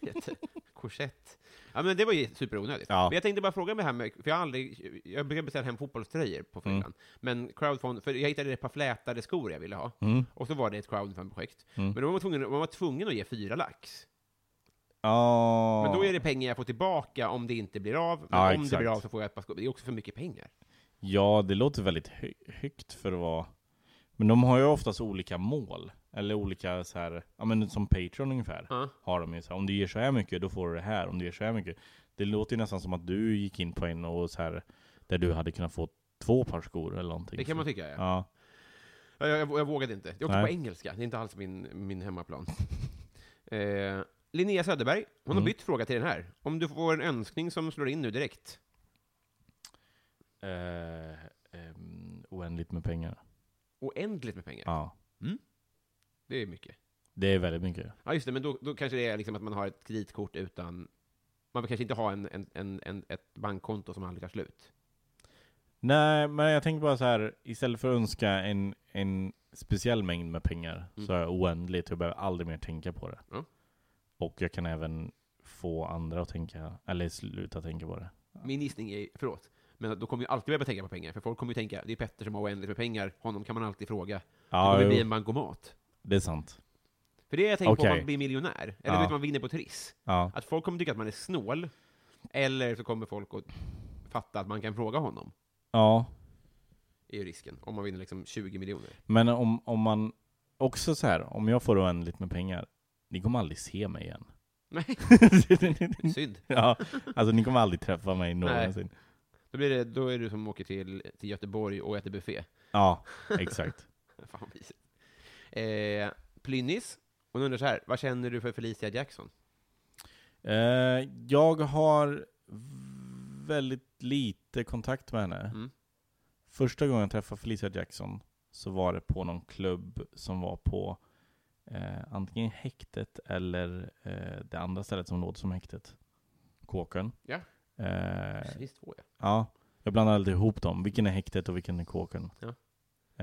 S1: Jätte- Korsett. Ja, men det var ju superonödigt.
S2: Ja.
S1: Men jag tänkte bara fråga mig här med, för jag har aldrig, jag brukar beställa hem fotbollströjor på
S2: Mm.
S1: fyllan. Men crowdfund, för jag hittade ett par flätade skor jag ville ha.
S2: Mm.
S1: Och så var det ett crowdfund-projekt. Men då var man, tvungen, man var tvungen att ge fyra lax.
S2: Ja.
S1: Men då är det pengar jag får tillbaka om det inte blir av. Men
S2: Ja,
S1: om det
S2: exakt.
S1: blir av så får jag ett par skor. Det är också för mycket pengar.
S2: Ja, det låter väldigt hö högt för att vara... Men de har ju oftast olika mål. Eller olika så här, ja men som Patreon ungefär.
S1: Ja.
S2: Har de ju så här, om du ger så här mycket, då får du det här. Om du ger så här mycket. Det låter ju nästan som att du gick in på en och så här, där du hade kunnat få två par skor eller någonting.
S1: Det kan man tycka, ja.
S2: Ja.
S1: Jag, jag, jag vågade inte. Det är också
S2: Nej.
S1: på engelska. Det är inte alls min, min hemmaplan. <laughs> Eh, Linnea Söderberg, hon har
S2: Mm.
S1: bytt fråga till den här. Om du får en önskning som slår in nu direkt.
S2: Eh, ehm, oändligt med pengar.
S1: Oändligt med pengar.
S2: Ja.
S1: Det är mycket.
S2: Det är väldigt mycket.
S1: Ja, just det, men då, då kanske det är liksom att man har ett kreditkort utan... Man vill kanske inte ha en, en, en, en, ett bankkonto som aldrig tar slut.
S2: Nej, men jag tänker bara så här. Istället för att önska en, en speciell mängd med pengar så är jag oändligt och jag behöver aldrig mer tänka på det.
S1: Mm. Ja.
S2: Och jag kan även få andra att tänka, eller sluta tänka på det.
S1: Min gissning är, förlåt, men då kommer ju alltid behöva tänka på pengar, för folk kommer ju tänka, det är Petter som har oändligt med pengar, honom kan man alltid fråga. Det
S2: Ja,
S1: kommer bli
S2: jo,
S1: en bankomat.
S2: det är sant.
S1: För det är jag tänkt på om
S2: Okej.
S1: man blir miljonär, eller
S2: Ja.
S1: du vet, man vinner på Triss.
S2: Ja.
S1: Att folk kommer tycka att man är snål, eller så kommer folk att fatta att man kan fråga honom,
S2: ja.
S1: är ju risken, om man vinner liksom 20 miljoner.
S2: Men om, om man, också så här, om jag får oändligt med pengar, ni kommer aldrig se mig igen. <laughs>
S1: Nej, <laughs> synd.
S2: ja, alltså ni kommer aldrig träffa mig någonsin.
S1: Då, blir det, då är det som åker till, till Göteborg och äter buffé. <laughs>
S2: Ja, exakt.
S1: Fan vad mysigt. Eh, Plynnis, hon undrar så här, vad känner du för Felicia Jackson?
S2: Eh, jag har väldigt lite kontakt med henne.
S1: Mm.
S2: Första gången jag träffade Felicia Jackson så var det på någon klubb som var på eh, antingen häktet eller eh, det andra stället som låter som häktet. Kåken.
S1: Ja.
S2: Eh,
S1: Visst får jag.
S2: Ja, jag blandar alltid ihop dem. Vilken är häktet och vilken är kåken?
S1: Ja.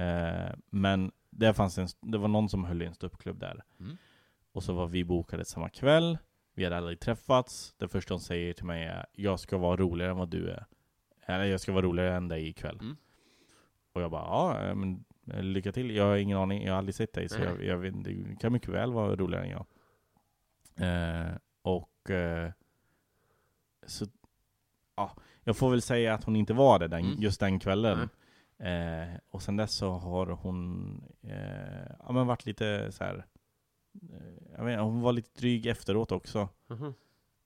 S2: Eh, men där fanns en, det var någon som höll i en ståuppklubb där.
S1: Mm.
S2: Och så var vi bokade samma kväll. Vi hade aldrig träffats. Det första hon säger till mig är jag ska vara roligare än vad du är. Eller jag ska vara roligare än dig ikväll.
S1: Mm.
S2: Och jag bara, ja, eh, men eh, lycka till. Jag har ingen aning, jag har aldrig sett dig så
S1: Nej.
S2: jag, jag vet, inte. du kan mycket väl vara roligare än jag. Eh, och eh, så, ja, jag får väl säga att hon inte var det den,
S1: Mm.
S2: just den kvällen. Eh, och sen dess så har hon eh, ja, men varit lite så här. Eh, jag vet, inte, hon var lite dryg efteråt också.
S1: Mhm.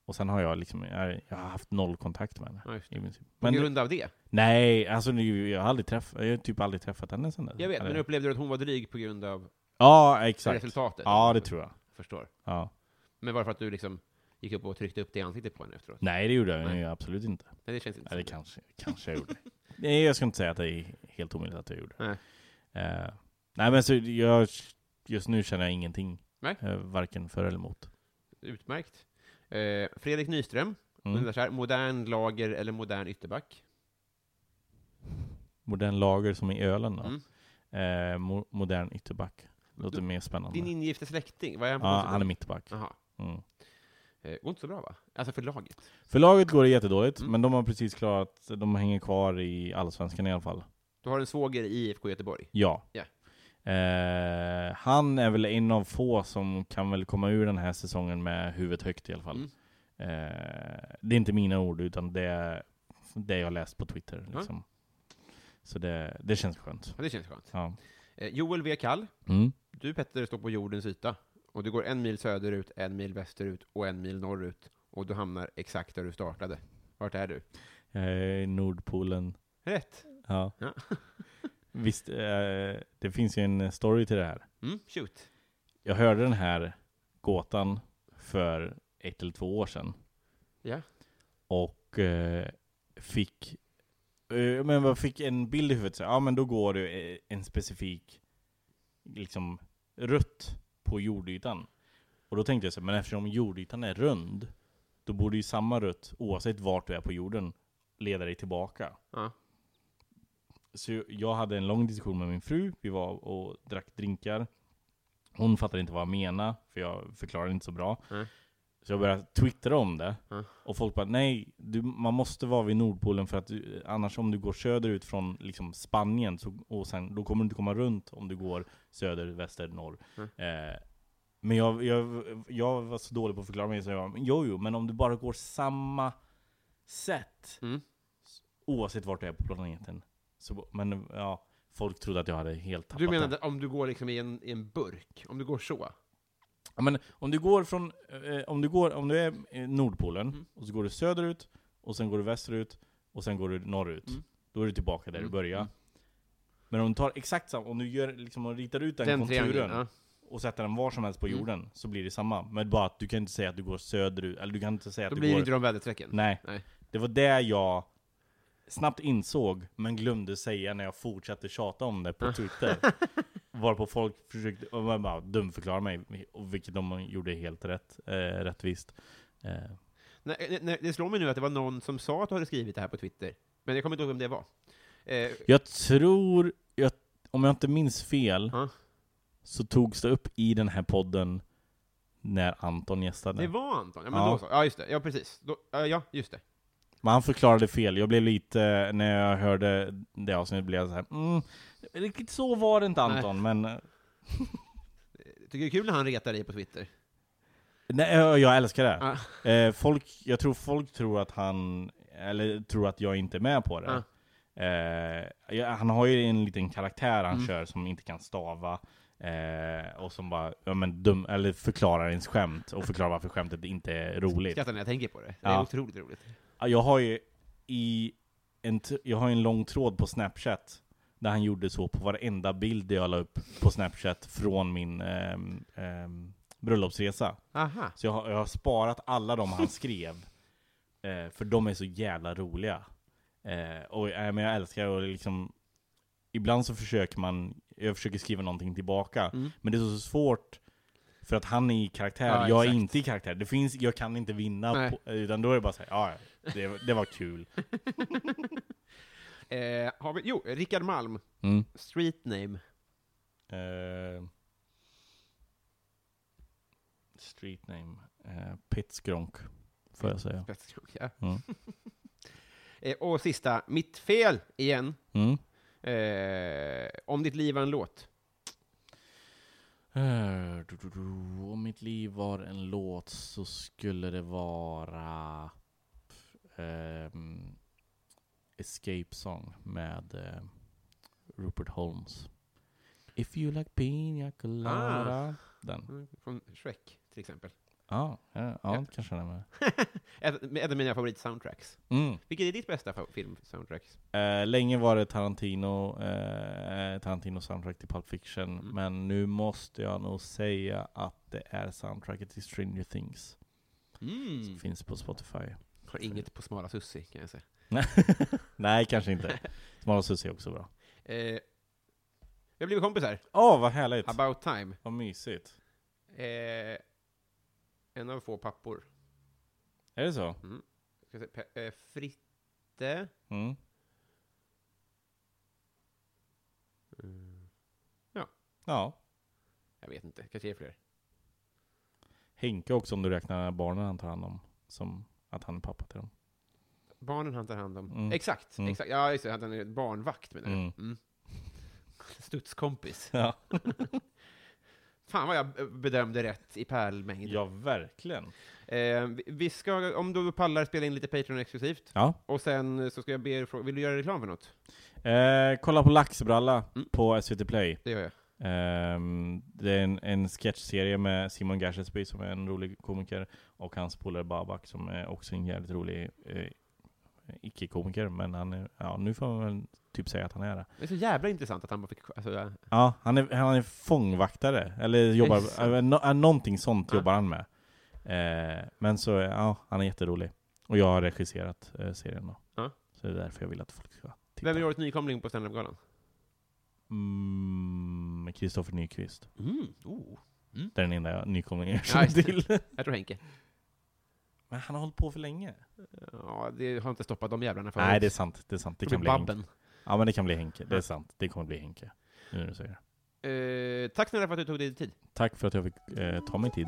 S2: Och sen har jag liksom, jag, jag har haft noll kontakt med henne.
S1: Ja, just
S2: i princip.
S1: På
S2: Men det,
S1: grund av det?
S2: nej, alltså nu, jag har aldrig träffat, jag har typ aldrig träffat henne sen dess.
S1: Jag vet,
S2: Eller-
S1: men upplevde du att hon var dryg på grund av
S2: Ja, exakt.
S1: resultatet?
S2: Ja, det tror jag.
S1: jag. Förstår.
S2: Ja.
S1: Men varför att du liksom gick upp och tryckte upp det i ansiktet på henne efteråt.
S2: Nej, det gjorde jag
S1: Nej.
S2: ju absolut inte.
S1: Men det känns inte
S2: Eller
S1: som det.
S2: kanske, kanske jag gjorde. <laughs> Nej, jag ska inte säga att det är helt omöjligt att jag gjorde.
S1: Nej.
S2: Eh, nej, men så jag, just nu känner jag ingenting.
S1: Nej.
S2: Eh, varken för eller emot.
S1: Utmärkt. Eh, Fredrik Nyström
S2: Mm.
S1: undrar så här, modern lager eller modern ytterback?
S2: Modern lager som i ölen då.
S1: Mm.
S2: Eh, mo- modern ytterback. Låter
S1: Du-
S2: mer spännande.
S1: Din ingifte släkting, vad är han på?
S2: ja,
S1: kontot?
S2: han är mittback.
S1: Jaha.
S2: Mm.
S1: Eh, går inte så bra va? Alltså för laget?
S2: För laget går det jättedåligt,
S1: Mm.
S2: men de har precis klarat, de hänger kvar i Allsvenskan i alla fall.
S1: Du har en svåger i IFK Göteborg?
S2: Ja.
S1: Ja.
S2: Eh, han är väl en av få som kan väl komma ur den här säsongen med huvudet högt i alla fall.
S1: Mm.
S2: Eh, det är inte mina ord, utan det är det jag läst på Twitter. Liksom. Så det, det känns skönt.
S1: Ja, det känns skönt.
S2: Ja.
S1: Eh, Joel V. Kall,
S2: Mm.
S1: du Petter står på jordens yta. Och du går en mil söderut, en mil västerut och en mil norrut. Och du hamnar exakt där du startade. Vart är du?
S2: Jag är i Eh, Nordpolen.
S1: Rätt!
S2: Ja.
S1: Ja.
S2: Visst, eh, det finns ju en story till det här.
S1: Mm, shoot.
S2: Jag hörde den här gåtan för ett eller två år sedan.
S1: Ja.
S2: Och eh, fick, eh, men jag fick en bild i huvudet. Så, här, ja men då går du eh, en specifik liksom, rutt på jordytan. Och då tänkte jag så här, men eftersom jordytan är rund, då borde ju samma rutt, oavsett vart du är på jorden, leda dig tillbaka.
S1: Ja.
S2: Så jag hade en lång diskussion med min fru, vi var och drack drinkar. Hon fattade inte vad jag menade, för jag förklarade inte så bra.
S1: Nej.
S2: Så jag började twittra om det.
S1: Ja.
S2: Och folk bara, nej, du, man måste vara vid Nordpolen för att du, annars om du går söderut från liksom Spanien, så, och sen, då kommer du inte komma runt om du går söder, väster, norr. Eh, men jag, jag, jag var så dålig på att förklara mig, så jag bara, jo, jo, men om du bara går samma sätt,
S1: Mm.
S2: oavsett vart du är på planeten. Så, men ja, folk trodde att jag hade helt tappat
S1: Du
S2: det.
S1: menade om du går liksom i en, i en burk? Om du går så?
S2: Ja, men om du går från, eh, om du går, om du är eh, Nordpolen,
S1: Mm.
S2: och så går du söderut, och sen går du västerut, och sen går du norrut.
S1: Mm.
S2: Då är du tillbaka där
S1: Mm,
S2: du började. Men om du tar exakt samma, om du gör, liksom, om du ritar ut den, konturen,
S1: ja.
S2: och sätter den var som helst på
S1: Mm.
S2: jorden, så blir det samma. Men bara att du kan inte säga att du går söderut, eller du kan inte säga att
S1: Då
S2: du
S1: blir det
S2: går...
S1: inte de väderstrecken?
S2: Nej.
S1: Nej.
S2: Det var det jag snabbt insåg, men glömde säga när jag fortsatte tjata om det
S1: <laughs>
S2: på Twitter. Varpå folk försökte och man bara dumförklara mig, och vilket de gjorde helt rätt, eh, rättvist. Eh,
S1: Nej, nej, nej, det slår mig nu att det var någon som sa att du hade skrivit det här på Twitter, men jag kommer inte ihåg vem det var. Eh,
S2: jag tror, jag, om jag inte minns fel,
S1: Ja.
S2: så togs det upp i den här podden när Anton gästade.
S1: det var Anton, ja men
S2: Ja.
S1: då så. Ja just det, ja precis. Då, ja, ja, just det.
S2: Men han förklarade fel, jag blev lite, när jag hörde det avsnittet blev jag såhär, mm, riktigt så var det inte Anton, men eh,
S1: Tycker det är kul när han retar dig på Twitter.
S2: Nej, jag, jag älskar det. Eh, folk, jag tror folk tror att han, eller tror att jag inte är med på det. Eh, ja, han har ju en liten karaktär han kör som inte kan stava. Eh, och som bara, ja, men dum, eller förklarar ens skämt och förklarar varför skämtet inte är roligt.
S1: Skrattar när jag tänker på det. Det är
S2: Ja.
S1: otroligt roligt.
S2: Ja, Jag har ju i en, t- jag har ju en lång tråd på Snapchat där han gjorde så på varenda bild jag la upp på Snapchat från min ehm, ehm, bröllopsresa.
S1: Aha.
S2: Så jag har, jag har sparat alla de han skrev. <laughs> eh, för de är så jävla roliga. Eh, och äh, men jag älskar och liksom Ibland så försöker man, jag försöker skriva någonting tillbaka.
S1: Mm.
S2: Men det är så svårt för att han är i karaktär,
S1: Ja,
S2: jag
S1: exakt.
S2: är inte i karaktär. Det finns, jag kan inte vinna,
S1: Nej.
S2: på, utan då är det bara såhär, ja ja, det, det
S1: <laughs>
S2: var kul.
S1: Eh, har vi, jo, Rickard Malm,
S2: Mm.
S1: street name. <laughs>
S2: Eh, street name, eh, Pitskronk, får
S1: <laughs>
S2: jag säga.
S1: Ja.
S2: Mm.
S1: eh, och sista, mitt fel igen.
S2: Mm.
S1: Eh, om ditt liv var en låt.
S2: Eh, du, du, du. Om mitt liv var en låt så skulle det vara ehm, Escape Song med eh, Rupert Holmes. If you like pina colada. Den.
S1: Mm, Från Shrek, till exempel.
S2: Ja, ja, ja,
S1: Ja.
S2: kanske den är med.
S1: Ett, ett av mina favoritsoundtracks.
S2: Mm.
S1: Vilket är ditt bästa fa- filmsoundtrack?
S2: Eh, länge var det Tarantino, eh, Tarantino soundtrack till Pulp Fiction.
S1: Mm.
S2: Men nu måste jag nog säga att det är soundtracket till Stranger Things.
S1: Mm.
S2: Finns på Spotify.
S1: Har inget på smala Sussi kan jag säga.
S2: <laughs> Nej, kanske inte. Smala Susie är också bra.
S1: Eh, vi har blivit kompisar.
S2: Åh, vad härligt.
S1: About time.
S2: Vad mysigt.
S1: Eh, en av få pappor.
S2: Är det så?
S1: Ska jag säga, Pe- eh, Fritte.
S2: Mm.
S1: Ja.
S2: Ja.
S1: Jag vet inte, kanske är fler.
S2: Henke också om du räknar barnen han tar hand om. Som att han är pappa till dem.
S1: Barnen han tar hand om.
S2: Mm.
S1: Exakt,
S2: Mm.
S1: exakt. Ja, just det. Han är barnvakt menar du?
S2: Mm.
S1: Mm. <laughs> Studskompis.
S2: Ja,
S1: Fan vad jag bedömde rätt i pärlmängd.
S2: ja verkligen.
S1: Eh, vi- vi ska, om du pallar, spela in lite Patreon exklusivt.
S2: Ja.
S1: Och sen så ska jag be er fråga, vill du göra reklam för något?
S2: Eh, kolla på Laxbralla
S1: Mm.
S2: på SVT Play.
S1: Det gör jag.
S2: Ehm, det är en, en sketchserie med Simon Gärdsby som är en rolig komiker och hans polare Babak som är också en jävligt rolig eh, icke-komiker. Men han är, ja, nu får man väl typ säga att han är det.
S1: Det är så jävla intressant att han bara fick... Alltså, jag-
S2: Ja, han är, han är fångvaktare, eller jobbar,
S1: Är det sant?
S2: äh, nå- äh, någonting sånt
S1: Ja.
S2: jobbar han med. Eh, men så, ja, han är jätterolig. Och jag har regisserat eh, serien då.
S1: Ja.
S2: Så det är därför jag vill att folk ska titta.
S1: vem är årets nykomling på standup-galan?
S2: Mm, Kristoffer Nyqvist.
S1: Mm. Oh.
S2: Det är den enda jag- nykomlingen jag
S1: Ja,
S2: känner
S1: just det.
S2: till.
S1: Jag tror Henke.
S2: Men han har hållit på för länge.
S1: Ja, det har inte stoppat de jävlarna förut.
S2: Nej, det är sant. Det är sant. Det
S1: Jag tror
S2: kan bli Henke.
S1: Babben.
S2: Ja, men det kan bli Henke. Det
S1: Ja.
S2: är sant. Det kommer bli Henke. Nu när du säger det.
S1: Eh, tack snälla för att du tog dig tid.
S2: Tack för att jag fick eh, ta mig tid.